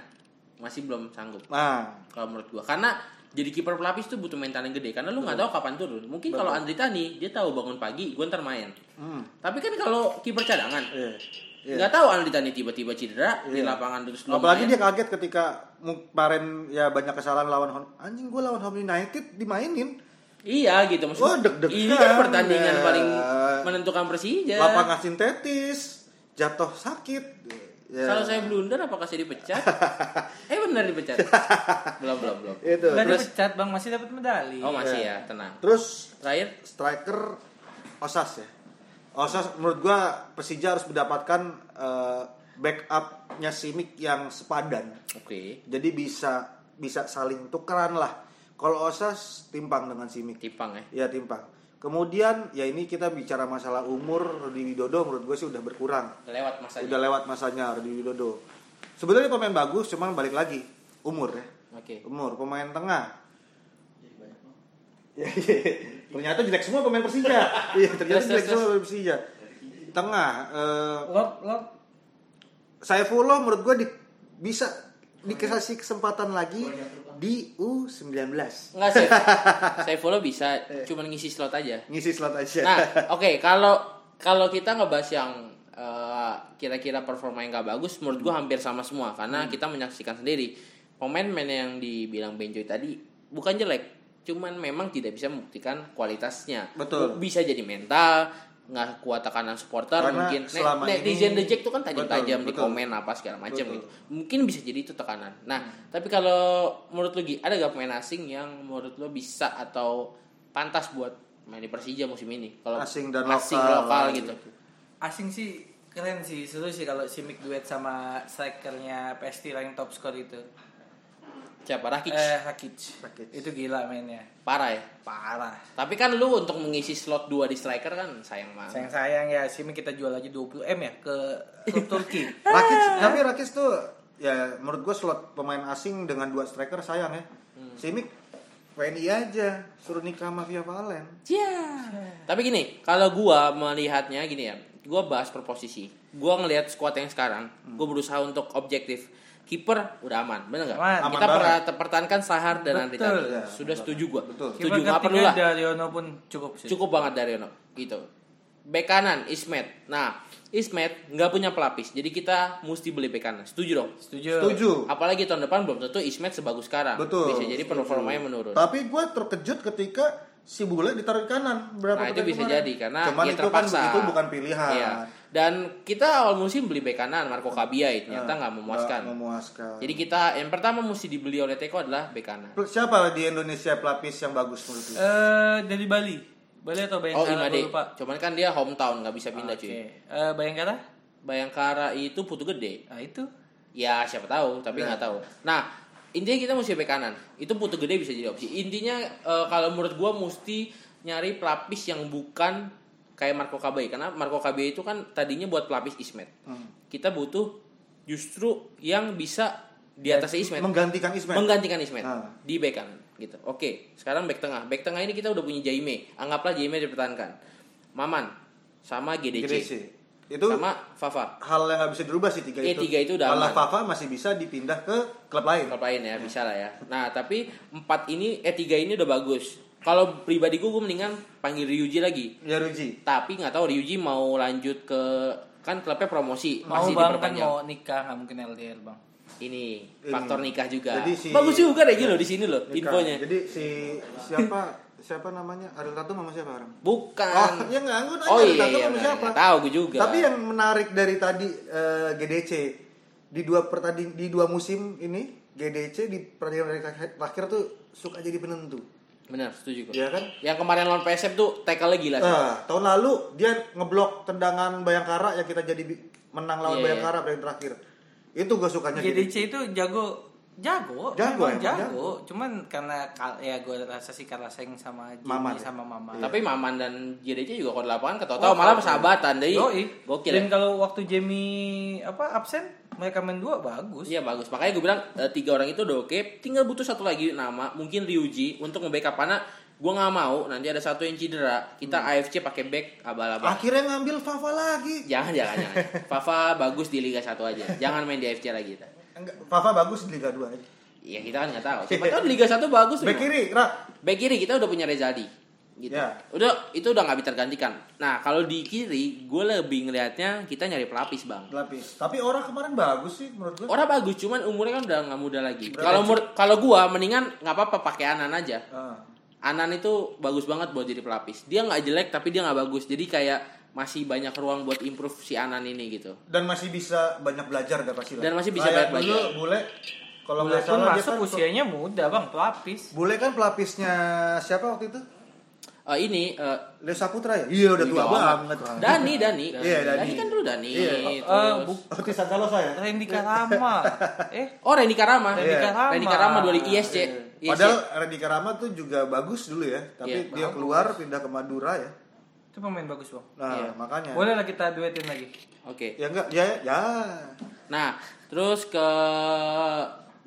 masih belum sanggup. Nah, kalau menurut gua karena jadi kiper pelapis tuh butuh mental yang gede karena lu nggak tahu kapan turun mungkin kalau Andri Tani dia tahu bangun pagi gua ntar main hmm, tapi kan kalau kiper cadangan iya. nggak tahu Aldita nih tiba-tiba cedera di lapangan terus lu Apalagi main. dia kaget ketika mu- kemarin ya banyak kesalahan lawan Hon- anjing gue lawan Home United dimainin. iya gitu maksudnya Wah, Oh, deg-degan, ini kan pertandingan ya. paling menentukan Persija Lapangan sintetis, jatuh sakit. Ya. kalau saya blunder apakah saya dipecat eh benar dipecat belum belum belum itu. Nggak dipecat bang masih dapat medali. oh masih Iya. ya tenang Terus terakhir striker Osas ya. Osas menurut gua Persija harus mendapatkan eh, backupnya Simic yang sepadan. oke Jadi bisa bisa saling tukeran lah. Kalau Osas timpang dengan Simic. tipang ya Ya timpang. Kemudian ya ini kita bicara masalah umur Rudi Widodo menurut gue sih udah berkurang. lewat masanya Udah lewat masanya Rudi Widodo. Sebenarnya pemain bagus cuman balik lagi umur ya. oke Umur pemain tengah. Ya, iya. ternyata jelek semua pemain Persija. Iya, ternyata Terus, jelek terus, semua pemain Persija. Tengah eh Lord, Lord, Saifullah menurut gue di- bisa dikasih kesempatan lagi di U19. nggak sih saya follow bisa Iya. cuman ngisi slot aja Ngisi slot aja. nah oke kalau kalau kita ngebahas yang eh, kira-kira performa yang gak bagus Hmm. menurut gua hampir sama semua karena kita menyaksikan sendiri pemain-pemain yang dibilang Benjoy tadi bukan jelek cuman memang tidak bisa membuktikan kualitasnya Betul. bisa jadi mental nggak kuat tekanan supporter Karena mungkin Net- selama netizen ini- reject tuh kan tajam-tajam Betul, di betul. komen apa segala macam Betul. Hmm. gitu mungkin bisa jadi itu tekanan nah tapi kalau menurut lo Gi, ada gak pemain asing yang menurut lo bisa atau pantas buat main di Persija musim ini kalau Asing dan asing lokal. iya, lokal gitu asing sih keren sih seru sih kalau Simic duet sama strikernya PST yang top skor itu. siapa Rakic Eh Rakic. Rakic. Itu gila mainnya. parah ya Parah. tapi kan lu untuk mengisi slot 2 di striker kan sayang banget Sayang sayang ya Simic kita jual aja 20 m ya ke klub Turki. Rakits, Ah. tapi Rakits tuh ya menurut gue slot pemain asing dengan dua striker sayang ya. Hmm. Simic WNI aja suruh nikah sama Via Valen. tapi gini kalau gua melihatnya gini ya gua bahas per posisi gua ngelihat squad yang sekarang Hmm. gua berusaha untuk objektif kiper udah aman bener nggak kita Aman. Aman pernah pertahankan Sahar dan Betul. Andritani Ya, sudah setuju gua Betul. setuju Kiper nggak perlu ketiga lah Daryono pun cukup sih. cukup banget Daryono gitu bek kanan Ismet nah Ismet nggak punya pelapis jadi kita mesti beli bek kanan setuju dong Setuju. Setuju. apalagi tahun depan belum tentu Ismet sebagus sekarang Betul. bisa jadi performanya menurun Tapi gue terkejut ketika si Bule ditaruh di kanan berapa nah itu pertandingan bisa kemarin. jadi karena Cuman ya itu terpaksa kan itu bukan pilihan. Iya. dan kita awal musim beli bek kanan Marco Kabiai ternyata nggak memuaskan Nggak memuaskan. jadi kita yang pertama mesti dibeli oleh Teko adalah bek kanan siapa di Indonesia pelapis yang bagus menurut lu? Eh dari Bali. Bali oh atau Bayangkara? Imade Gua lupa. cuman kan dia hometown nggak bisa pindah Oke. cuy Eh, Bayangkara? Bayangkara itu putu gede Nah, itu. ya siapa tahu tapi Iya. nggak tahu nah intinya kita mesti bek kanan itu putu gede bisa jadi opsi intinya eh, kalau menurut gua mesti nyari pelapis yang bukan kayak Marco Kabe karena Marco Kabe itu kan tadinya buat pelapis Ismet Hmm. kita butuh justru yang bisa di Ya, atas Ismet Menggantikan Ismail. menggantikan Ismet Ah. di back kanan gitu oke sekarang back tengah back tengah ini kita udah punya Jaime anggaplah Jaime dipertahankan Maman sama GDC, GDC. Itu sama Fafa hal yang nggak bisa dirubah sih tiga Iya, itu. tiga itu udah Malah aman. Fafa masih bisa dipindah ke klub lain. klub lain ya bisa lah ya nah tapi empat ini eh tiga ini udah bagus kalau pribadi gue gue mendingan panggil Ryuji lagi Ya Ruji. tapi nggak tahu Ryuji mau lanjut ke kan klubnya promosi Mau masih bang kan diperpanjang mau nikah nggak mungkin LDR bang. ini Ini. faktor nikah juga Jadi si- bagus juga deh lo di sini loh Nikah. infonya Jadi si siapa siapa namanya Ariel Tatum sama siapa orang? bukan Oh, ya nggak aku nanya oh Ariel iya Tatum iya sama benar. siapa? Nggak tahu gue juga Tapi yang menarik dari tadi eh, GDC di dua pertanding di dua musim ini GDC di pertandingan terakhir tuh suka jadi penentu. benar setuju gue Iya kan? yang kemarin lawan PSM tuh tackle lagi lah Eh, tahun lalu dia ngeblok tendangan Bayangkara yang kita jadi bi- menang lawan Iya, Bayangkara pertandingan terakhir. Itu gue sukanya GDC. GDC itu jago jago Jago, memang emang jago. jago. cuman karena kal- ya gue rasa sih karena Seng sama Jimmy Maman ya? sama Mama tapi Maman dan JDC juga kalau di lapangan Oh, ketawa-tawa malah iya. persahabatan deh gokil ya. dan kalau waktu Jamie apa absen mereka main dua bagus Iya bagus. Makanya gue bilang eh, tiga orang itu udah oke. Tinggal butuh satu lagi nama, mungkin Ryuji untuk nge-backup karena gue nggak mau nanti ada satu yang cedera. Hmm. Kita AFC pakai back abal-abal. Akhirnya ngambil Fafa lagi. Jangan jangan jangan. Fafa bagus di Liga 1 aja. Jangan main di AFC lagi Iya, kita. Enggak, Fafa bagus di Liga 2 aja. Ya kita kan nggak tahu. Siapa tahu di Liga 1 bagus. Back memang. kiri, Rak. Back kiri kita udah punya Rezadi. gitu. Ya. Udah itu udah nggak bisa tergantikan. Nah kalau di kiri gue lebih ngelihatnya kita nyari pelapis bang. Lapis. Tapi orang kemarin bagus sih menurut gue. Orang bagus cuman umurnya kan udah nggak muda lagi. Berapa Kalau sih? umur kalau gue mendingan nggak apa-apa pakai Anan aja. Ah. Anan itu bagus banget buat jadi pelapis. Dia nggak jelek tapi dia nggak bagus. Jadi kayak masih banyak ruang buat improve si Anan ini gitu. dan masih bisa banyak belajar dah pasti lah. Dan masih bisa Kayak banyak dulu belajar. Bule kalau Walaupun nggak salah dia masuk kan usianya muda bang, pelapis. Bule kan pelapisnya siapa waktu itu? Eh, ini eh, Leo Saputra ya? Iya udah tua Tua banget. Dani, Dani. Iya, Dani. kan dulu Dani. Iya. Eh, terus- bu- Seperti Santalo Iya, saya. Randy Karama. eh, Oh Randy Karama. Randy Iya. Karama. Randy Karama dari ISC. ISC. Padahal Radika Rama tuh juga bagus dulu ya, tapi Iya, dia keluar pindah ke Madura ya. Itu pemain bagus bang. Nah, Iya. makanya. Boleh lah kita duetin lagi. Oke. Ya enggak, ya ya. Nah, terus ke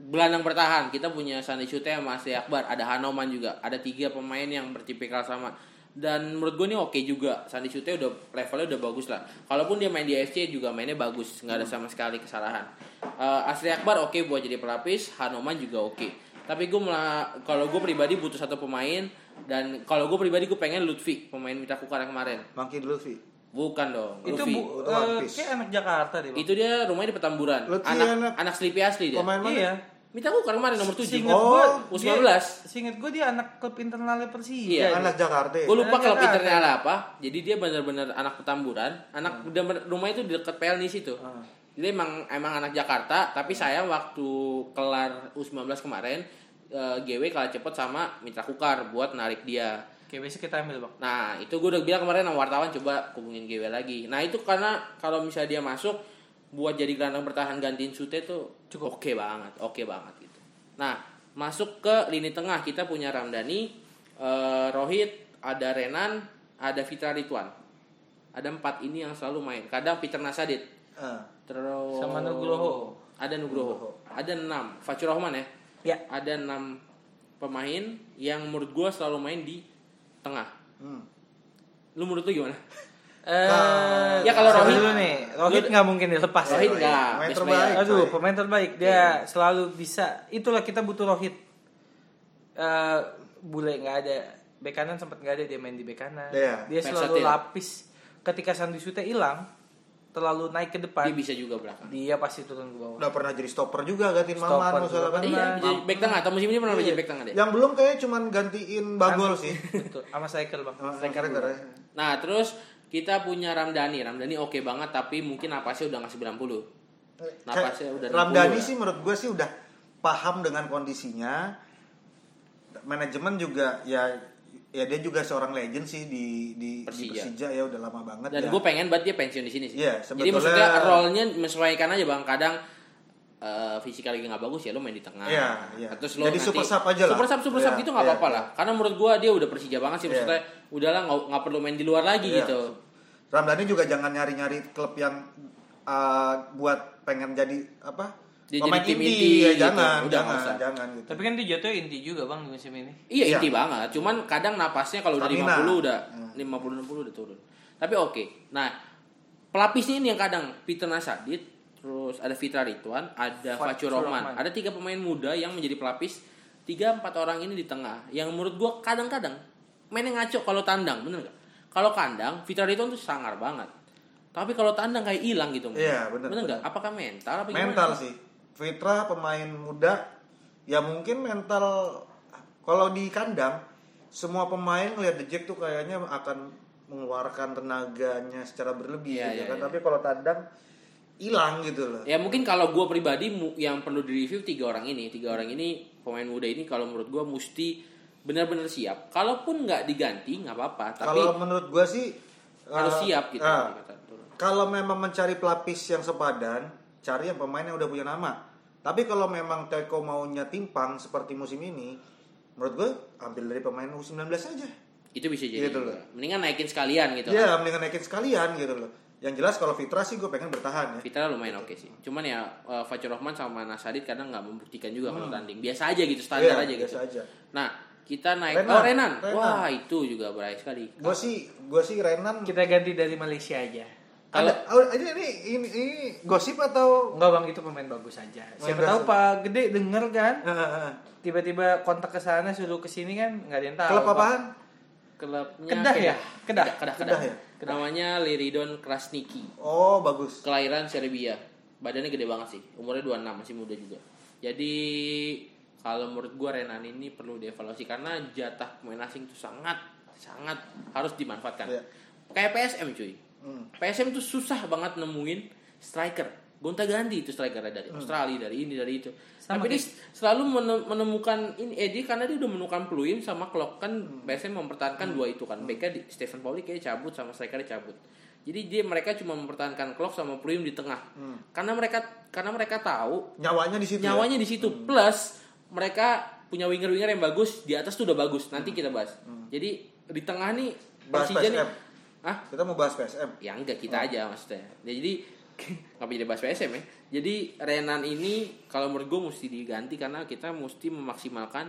gelandang bertahan kita punya Sandi Chute sama Asli Akbar, ada Hanoman juga, ada tiga pemain yang bertipikal sama. Dan menurut gue ini oke juga. Sandi Chute udah levelnya udah bagus lah. Kalaupun dia main di AFC juga mainnya bagus, nggak ada sama sekali kesalahan. Eh, Asli Akbar oke buat jadi pelapis, Hanoman juga oke. Tapi gue malah kalau gue pribadi butuh satu pemain dan kalau gue pribadi gue pengen Lutfi pemain Mita Kukar kemarin. Monkey dulu sih. Bukan dong. Itu Lutfi. bu, Itu eh, pelapis. kayak anak Jakarta deh bang. itu dia rumahnya di Petamburan. Lutfi anak, anak anak- Sleepy asli dia. Pemain mana? Iya. Minta aku kan kemarin nomor 7 Seinget Oh, gua, U19. dia- Seinget gue dia anak klub internalnya Persija. Iya. Anak Jakarta. ya? Gue lupa Anak kalau Jakarta. Peternya apa. Jadi dia benar-benar anak Petamburan, anak dan ber- rumahnya itu di dekat PLN situ. Jadi emang emang anak Jakarta, tapi saya waktu kelar U19 kemarin eh, GW kalah cepet sama Mitra Kukar buat narik dia. Oke, besok kita ambil bang. Nah, itu gue udah bilang kemarin sama wartawan coba hubungin GW lagi. Nah, itu karena kalau misalnya dia masuk buat jadi gelandang bertahan gantiin Sute tuh cukup oke banget, oke banget gitu. Nah, masuk ke lini tengah kita punya Ramdhani, eh, Rohit, ada Renan, ada Fitra Ridwan. Ada empat ini yang selalu main. Kadang Peter Nasadit, Ah. terus Sama Nugroho. Ada Nugroho. Ada enam. Fajrul Rahman ya Ya. ada enam pemain yang menurut gue selalu main di tengah. Hmm. Lu menurut lu gimana? Eh, Ya, kalau siapa Rohit- dulu nih, Rohit Lu- nggak Iya. mungkin dilepas. ya. Rohit Rohit. nggak Main best terbaik. player. Aduh, Rohit. pemain terbaik dia selalu bisa. Itulah kita butuh Rohit. Eh, bule nggak ada, bek kanan sempat nggak ada dia main di bek kanan. Iya. Dia selalu Versatile. lapis. Ketika Sandy Sute hilang, terlalu naik ke depan, Dia bisa juga belakang. dia pasti turun ke bawah. Udah pernah jadi stopper juga gantiin Stopper Maman juga masalah kan. pernah. Iya, jadi back tengah atau musim ini pernah Iya. jadi back tengah deh. Yang belum kayaknya cuman gantiin Bagol sih. Betul, sama striker bang. Ah, striker ya. Nah, terus kita punya Ramdhani. Ramdhani oke banget tapi mungkin napasnya udah ngasih 90. Napasnya Nah, udah 60 Ramdhani ya. sih menurut gue sih udah paham dengan kondisinya. Manajemen juga ya ya dia juga seorang legend sih di di di Persija. Persija ya udah lama banget ya. Dan gue pengen banget dia pensiun di sini sih. Iya, jadi sebetulnya- maksudnya role-nya menyesuaikan aja Bang. Kadang eh fisika lagi nggak bagus ya lo main di tengah. Iya, iya. Terus lo Jadi nanti- super sub aja lah. Super sub super sub Iya, gitu nggak iya, apa-apa iya. lah. Karena menurut gua dia udah Persija banget sih maksudnya udahlah nggak nggak perlu main di luar lagi Iya. gitu. Ramdhani juga jangan nyari-nyari klub yang uh, buat pengen jadi apa? Dia pemain jadi tim inti, inti ya, gitu. jangan, Udah, jangan, nggak usah. jangan gitu. Tapi kan dia jatuh inti juga bang di musim ini. Iya, Iya. inti banget. Cuman kadang napasnya kalau udah Stamina. Hmm. 50 udah 50 60 udah turun. Tapi oke. Nah, pelapisnya ini yang kadang Peter Nasadit, terus ada Fitra Ridwan, ada Facu Fatu Rohman. Rohman. Ada tiga pemain muda yang menjadi pelapis. Tiga empat orang ini di tengah. Yang menurut gua kadang-kadang mainnya ngaco kalau tandang, bener gak? Kalau kandang, Fitra Ridwan tuh sangar banget. Tapi kalau tandang kayak hilang gitu. Mas. Iya, bener, Bener nggak? Apakah mental apa gimana? mental sih Fitra pemain muda ya mungkin mental kalau di kandang semua pemain ngelihat The Jack tuh kayaknya akan mengeluarkan tenaganya secara berlebih Iya, gitu iya, kan iya. tapi kalau tandang hilang gitu loh Ya mungkin kalau gue pribadi mu- yang perlu direview tiga orang ini, tiga orang ini pemain muda ini kalau menurut gue mesti benar-benar siap. Kalaupun nggak diganti nggak apa-apa, tapi kalau menurut gua sih harus eh, siap gitu. eh, kata turun. kalau memang mencari pelapis yang sepadan cari yang pemain yang udah punya nama tapi kalau memang Teko maunya timpang seperti musim ini menurut gue ambil dari pemain U19 aja Itu bisa jadi. Gitu juga. Mendingan naikin sekalian gitu. Iya, mendingan naikin sekalian gitu loh. Yang jelas kalau Fitra sih gue pengen bertahan ya. Fitra lumayan oke sih. Cuman ya eh, Fajrul Rahman sama Nasadit kadang nggak membuktikan juga kalau tanding. Biasa aja gitu standar Hmm. Iya, aja gitu. biasa aja. Nah kita Renan, naik oh Renan. Renan. wah itu juga berani sekali. Gue sih gue sih Renan Kita ganti dari Malaysia aja. ada Kalau oh, ini, ini ini ini gosip atau Enggak bang itu pemain bagus aja. Siapa bagus. tahu Pak Gede denger kan? Eh, eh, eh. tiba-tiba kontak ke sana suruh ke sini kan nggak ada yang tahu. klub Pak. apaan? Ke klubnya Kedah ya? Kedah, Kedah, Kedah, Kedah Kedah. ya? Namanya Liridon Krasniki. Oh bagus. kelahiran Serbia. Badannya gede banget sih. Umurnya 26 masih muda juga. Jadi kalau menurut gua Renan ini perlu dievaluasi karena jatah pemain asing itu sangat sangat harus dimanfaatkan. Iya. Kayak PSM cuy. Hmm. PSM tuh susah banget nemuin striker. Gonta-ganti itu striker dari Australia, dari ini, dari itu. Sama Tapi dia selalu mene- menemukan ini eh, dia karena dia udah menemukan Pluim sama Klopp kan PSM mempertahankan dua itu kan. Backnya di Stephen Pauli kayak cabut sama strikernya cabut. Jadi dia mereka cuma mempertahankan Klopp sama Pluim di tengah. Karena mereka karena mereka tahu Nyawanya di situ. ya? nyawanya di situ plus mereka punya winger-winger yang bagus di atas tuh udah bagus nanti kita bahas jadi di tengah nih Bahas Persija nih PSM. ah Kita mau bahas PSM. ya enggak kita aja maksudnya Ya, jadi nggak bisa bahas PSM ya jadi Renan ini kalau menurut gue mesti diganti karena kita mesti memaksimalkan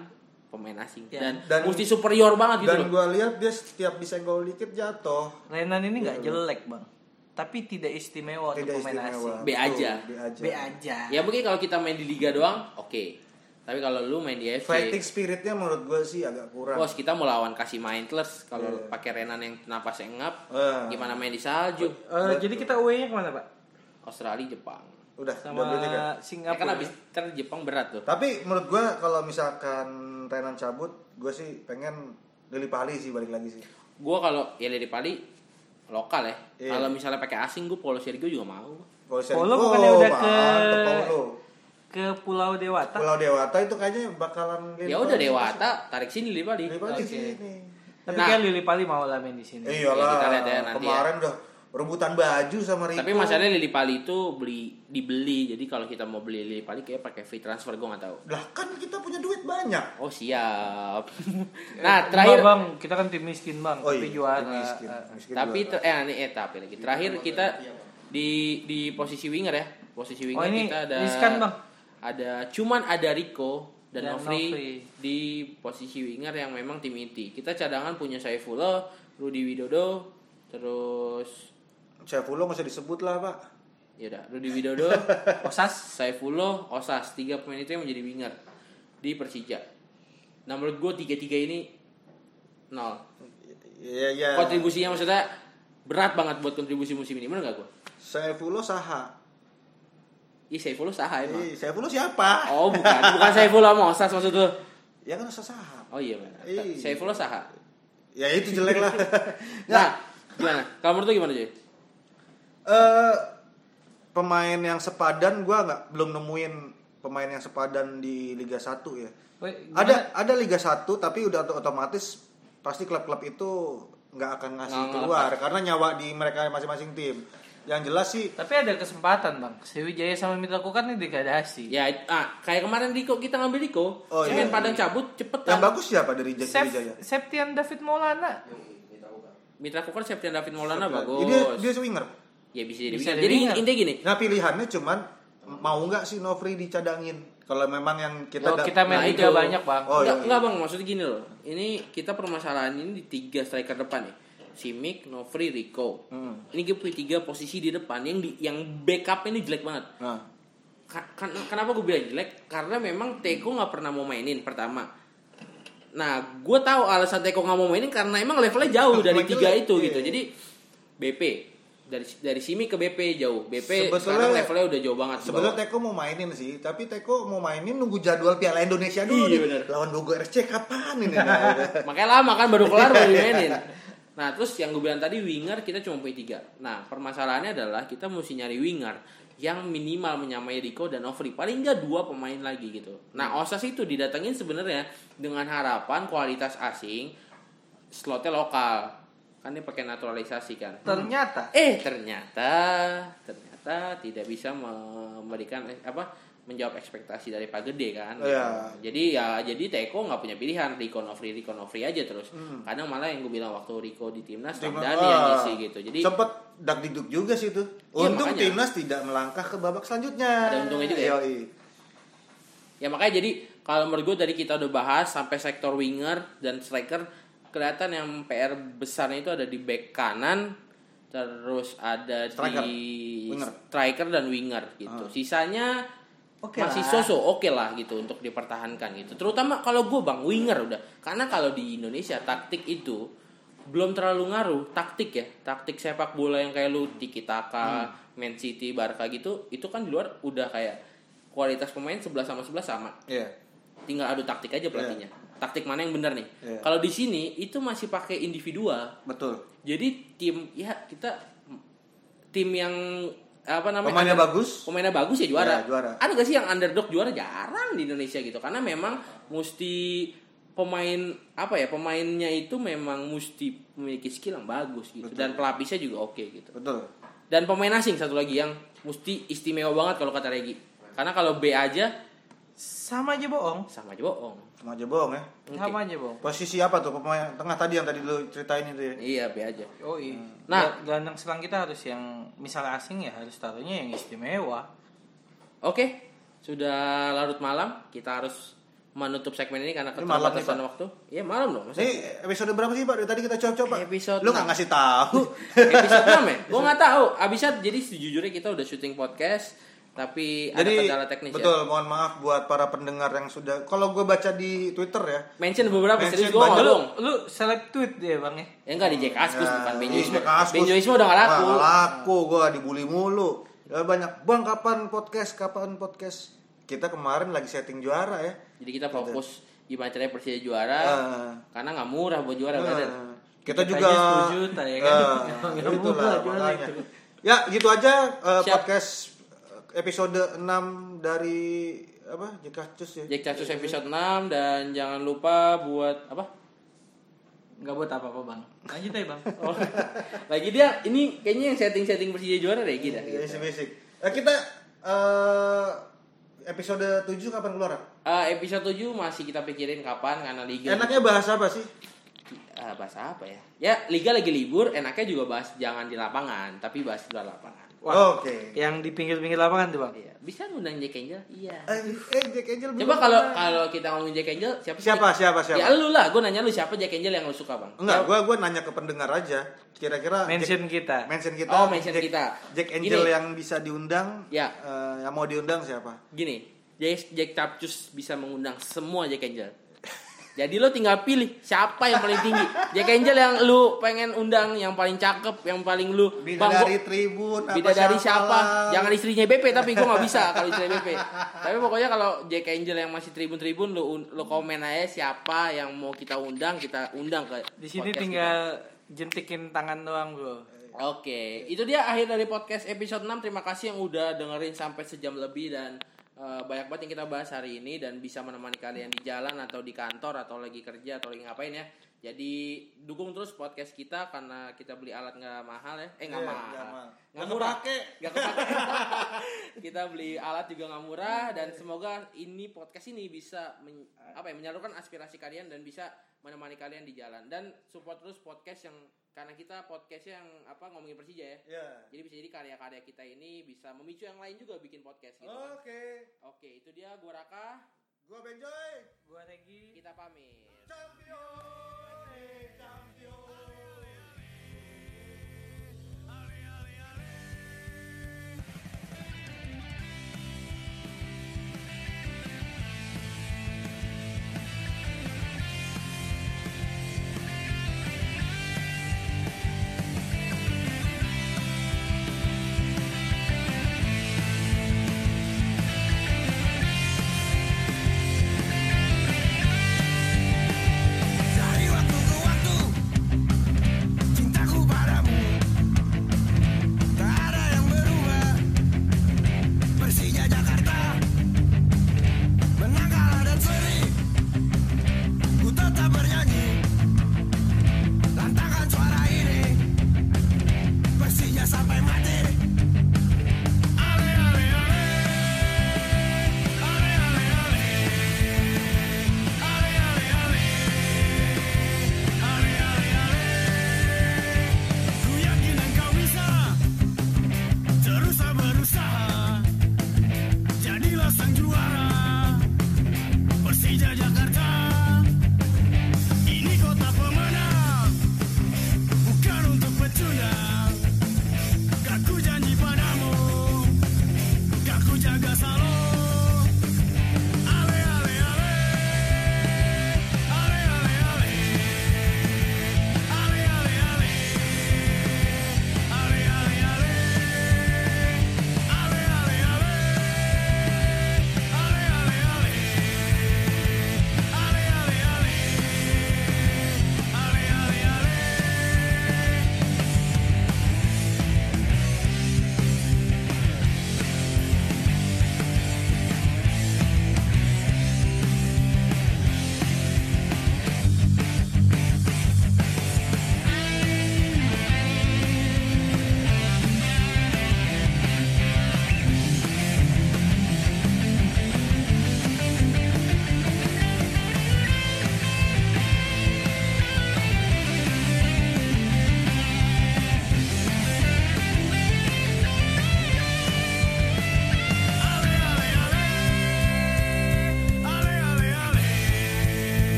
pemain asing Ya. dan, Dan- mesti superior banget gitu Dan loh gua lihat dia setiap disenggol dikit jatuh. Renan ini nggak jelek bang, tapi tidak Oh, istimewa Iya, Tidak untuk pemain Eh, istimewa. Iya. asing. B aja. Betul, B aja. B aja. ya mungkin kalau kita main di liga doang oke tapi kalau lu main di FC Fighting spiritnya menurut gua sih agak kurang. Bos kita mau lawan kasih main terus kalau Iya. pakai Renan yang napasnya ngap, Eh. gimana main di salju? Eh, jadi kita away-nya kemana pak? Australia Jepang. Udah, udah Sama berarti kan? Ya kan Singapura. abis ter Jepang berat tuh. Tapi menurut gua kalau misalkan Renan cabut, gua sih pengen Lili Pali sih balik lagi sih. Gua kalau ya dari Pali lokal ya. Iya. Kalau misalnya pakai asing gua Polo Sergio juga mau. Kalau saya- Oh, Paulo bukannya udah ke- mantep Paulo. ke Pulau Dewata. Pulau Dewata itu kayaknya bakalan Lili Ya Pali udah sih. Dewata tarik sini dari Pali. Lili Pali Oke. sih ini. Tapi Nah. kan Lili Pali mau lah main di sini. Eh, iyalah. kita lihat ya nanti Kemarin udah rebutan baju sama Rico. Tapi masalahnya Lili Pali itu beli dibeli. Jadi kalau kita mau beli Lili Pali kayak pakai free transfer gua nggak tahu. lah kan kita punya duit banyak. Oh siap. nah, Terakhir terakhir Eh, bang, kita kan tim miskin bang, Oh iya, tapi juara. tim miskin. Eh, eh. Miskin tapi juara. ter- eh ini eh tapi Gitu, lagi terakhir kita di di posisi winger ya posisi winger iya, Oh, ini kita ada riskan, Bang. ada cuman ada Rico dan, Dan Nofri, Nofri. di posisi winger yang memang tim inti kita cadangan punya Saifullah Rudi Widodo terus Saifullah nggak usah disebut lah pak. ya udah Rudi Widodo Osas, Saifullah Osas tiga pemain itu yang menjadi winger di Persija nah menurut gue tiga tiga ini nol Iya iya. kontribusinya maksudnya berat banget buat kontribusi musim ini bener gak gue Saifullah saha. Ih, Saifullah saha emang. Eh, Saifullah siapa? Oh bukan, bukan Saifullah Mosas maksud lu. Ya kan usah saha. Oh iya benar. Ih. Saifullah Saha. Ya itu jelek lah. nah, Nah, gimana? Kalau menurut lu gimana, Jay? eh pemain yang sepadan gua nggak belum nemuin pemain yang sepadan di Liga 1 ya. Woi, gimana? Ada ada Liga 1 tapi udah ot- otomatis pasti klub-klub itu nggak akan ngasih Nggak keluar karena nyawa di mereka masing-masing tim. Yang jelas sih Tapi ada kesempatan bang, Sriwijaya sama Mitra Kukar Iya, nih degradasi. Ya, it- ah, kayak kemarin Riko kita ngambil Riko, Oh, iya. Semen Padang cabut cepetan. yang kan bagus siapa dari Jack Sep, Wijaya? Septian David Maulana Mitra Kukar Septian David Maulana bagus. Iya, Dia dia swinger. Ya bisa jadi. Bisa winger. jadi jadi winger. intinya gini, Nah pilihannya cuman mau nggak sih Novri dicadangin kalau memang yang kita Kalau da- kita Nah, main liga itu. E banyak bang. Oh, enggak, iya, iya. enggak, bang, maksudnya gini loh. Ini kita permasalahan ini di tiga striker depan ya. Simic, Nofri, Rico. Hmm. Ini gue punya tiga posisi di depan yang di, yang backup ini jelek banget. Nah, Ka- kan- kenapa gue bilang jelek? Karena memang Teko nggak pernah mau mainin pertama. Nah, gue tahu alasan Teko nggak mau mainin karena emang levelnya jauh dari Levelnya tiga jelek, itu iya. gitu. Jadi BP dari dari Simi ke BP jauh. BP Sebetulnya- sekarang levelnya udah jauh banget. di Sebenarnya bawah. Teko mau mainin sih, tapi Teko mau mainin nunggu jadwal Piala Indonesia dulu. Iya, nih. bener. Lawan Bogor RC kapan ini? Nah, Makanya lama kan baru kelar baru dimainin. Nah terus yang gue bilang tadi winger kita cuma punya tiga. Nah permasalahannya adalah kita mesti nyari winger yang minimal menyamai Rico dan Ovri paling nggak dua pemain lagi gitu. Nah Osas itu didatengin sebenarnya dengan harapan kualitas asing slotnya lokal kan dia pakai naturalisasi kan. Ternyata Eh ternyata ternyata tidak bisa memberikan eh, apa menjawab ekspektasi dari Pak Gede kan. Iya. Jadi ya jadi Teko nggak punya pilihan Rico Novri Rico Novri aja terus. Kadang malah yang gue bilang waktu Rico di timnas Ramdhani yang ah. ngisi gitu. Jadi sempet dak diduk juga sih itu. Iya, Untung makanya. timnas tidak melangkah ke babak selanjutnya. Ada untungnya juga ya. Yoi. ya makanya jadi kalau menurut gue dari kita udah bahas sampai sektor winger dan striker kelihatan yang PR besarnya itu ada di back kanan terus ada Striker. di Winger. striker dan winger gitu. Sisanya Oke masih lah. sosok oke lah gitu untuk dipertahankan gitu. Terutama kalau gue bang winger udah karena kalau di Indonesia taktik itu belum terlalu ngaruh taktik ya taktik sepak bola yang kayak lu di Kitaka, Man City, Barca gitu itu kan di luar udah kayak kualitas pemain 11 sama 11 sama Iya. tinggal adu taktik aja pelatihnya taktik mana yang benar nih Iya. kalau di sini itu masih pakai individual Betul. jadi tim ya kita tim yang apa namanya Pemainnya under- bagus. pemainnya bagus ya juara. Ya, juara. Ada gak sih yang underdog juara jarang di Indonesia gitu karena memang mesti pemain apa ya pemainnya itu memang mesti memiliki skill yang bagus gitu Betul. dan pelapisnya juga oke gitu. Betul. Dan pemain asing satu lagi yang mesti istimewa banget kalau kata Regi. Karena kalau B aja Sama aja bohong. sama aja bohong. Cuma aja bohong ya. Oke. Sama aja bohong. Posisi apa tuh pemain tengah tadi yang tadi lu ceritain itu ya? Iya B aja. Oh iya. Nah. Nah, gelandang serang kita harus yang misalnya asing ya harus taruhnya yang istimewa. Oke, sudah larut malam. Kita harus menutup segmen ini karena Ini malam nih, keterbatasan Pak. waktu. Iya malam dong. Mas. Ini episode berapa sih Pak? Dari tadi kita coba-coba. Episode Lu nggak enam. ngasih tahu. Episode 6 ya? Gue nggak tahu. Abisnya jadi sejujurnya kita udah syuting podcast, tapi ada Jadi kendala teknis betul, ya. mohon maaf buat para pendengar yang sudah. Kalau gue baca di Twitter ya, Mention beberapa Mention serius gue nggak banyak. bohong. Lu seleb tweet deh bang ya. Ya enggak di Jack Askus Ya, bukan Benjoisme. Jack Askus. Benjoisme udah nggak laku. Nggak laku, gue dibully mulu. Ya, banyak, bang kapan podcast, kapan podcast. Kita kemarin lagi setting juara ya. Jadi kita fokus gimana caranya Persija juara. Ah. Karena nggak murah buat juara, brother. Nah, kita Kita juga aja 10 juta, ya kan? Eh, Nggak itulah murah juara makanya. itu. Ya, gitu aja eh, Siap. podcast eh, episode 6 dari apa? Jekacus ya. Jack Askus episode 6 dan jangan lupa buat apa? Nggak buat apa-apa bang. Lanjut aja bang. Oh. Lagi dia ini kayaknya yang setting-setting Persija juara deh gitu. Basic basic. Eh, kita eh, episode 7 kapan keluar? Eh, episode 7 masih kita pikirin kapan karena liga. Enaknya bahas apa sih? Eh, bahas apa ya? Ya liga lagi libur, enaknya juga bahas jangan di lapangan, tapi bahas di luar lapangan. Oh. Wah. Oke. Yang di pinggir-pinggir lapangan tuh bang. Iya, bisa ngundang Jack Angel? Iya. Eh, eh, Jack Angel belum Coba kalau pernah. kalau kita ngomongin Jack Angel, siapa sih? siapa siapa siapa? Ya lu lah, gue nanya lu siapa Jack Angel yang lu suka bang? Enggak, gua gua nanya ke pendengar aja. Kira-kira Mention Jack- kita. mention kita. Oh, mention Jack- kita. Jack Angel Gini. yang bisa diundang. Ya. eh, yang mau diundang siapa? Gini, Jack, Jack Capcus bisa mengundang semua Jack Angel. Jadi lo tinggal pilih siapa yang paling tinggi. Jack Angel yang lu pengen undang, yang paling cakep, yang paling lu Bida gua- dari Tribun. Beda dari siapa? Ya. lah. Jangan istrinya BP tapi gue nggak bisa kalau istrinya BP. tapi pokoknya kalau Jack Angel yang masih tribun-tribun lu lu komen aja siapa yang mau kita undang, kita undang ke Di podcast sini Eh. tinggal jentikin tangan doang bro. kita. Oke, itu dia akhir dari podcast episode 6. Terima kasih yang udah dengerin sampai sejam lebih dan eh, banyak banget yang kita bahas hari ini dan bisa menemani kalian di jalan atau di kantor atau lagi kerja atau lagi ngapain ya. Jadi dukung terus podcast kita karena kita beli alat nggak mahal ya. Eh nggak Iya, mahal. nggak mahal. Nggak Nggak murah. kepake. Nggak kepake. kita beli alat juga nggak murah dan semoga ini podcast ini bisa men- apa ya menyalurkan aspirasi kalian dan bisa menemani kalian di jalan dan support terus podcast yang karena kita podcastnya yang apa ngomongin Persija ya. Iya. Jadi bisa jadi karya-karya kita ini bisa memicu yang lain juga bikin podcast gitu. kan. Oke. Oke, itu dia gua Raka, Gua Benjoy. Gua Regi. kita pamit. Champion.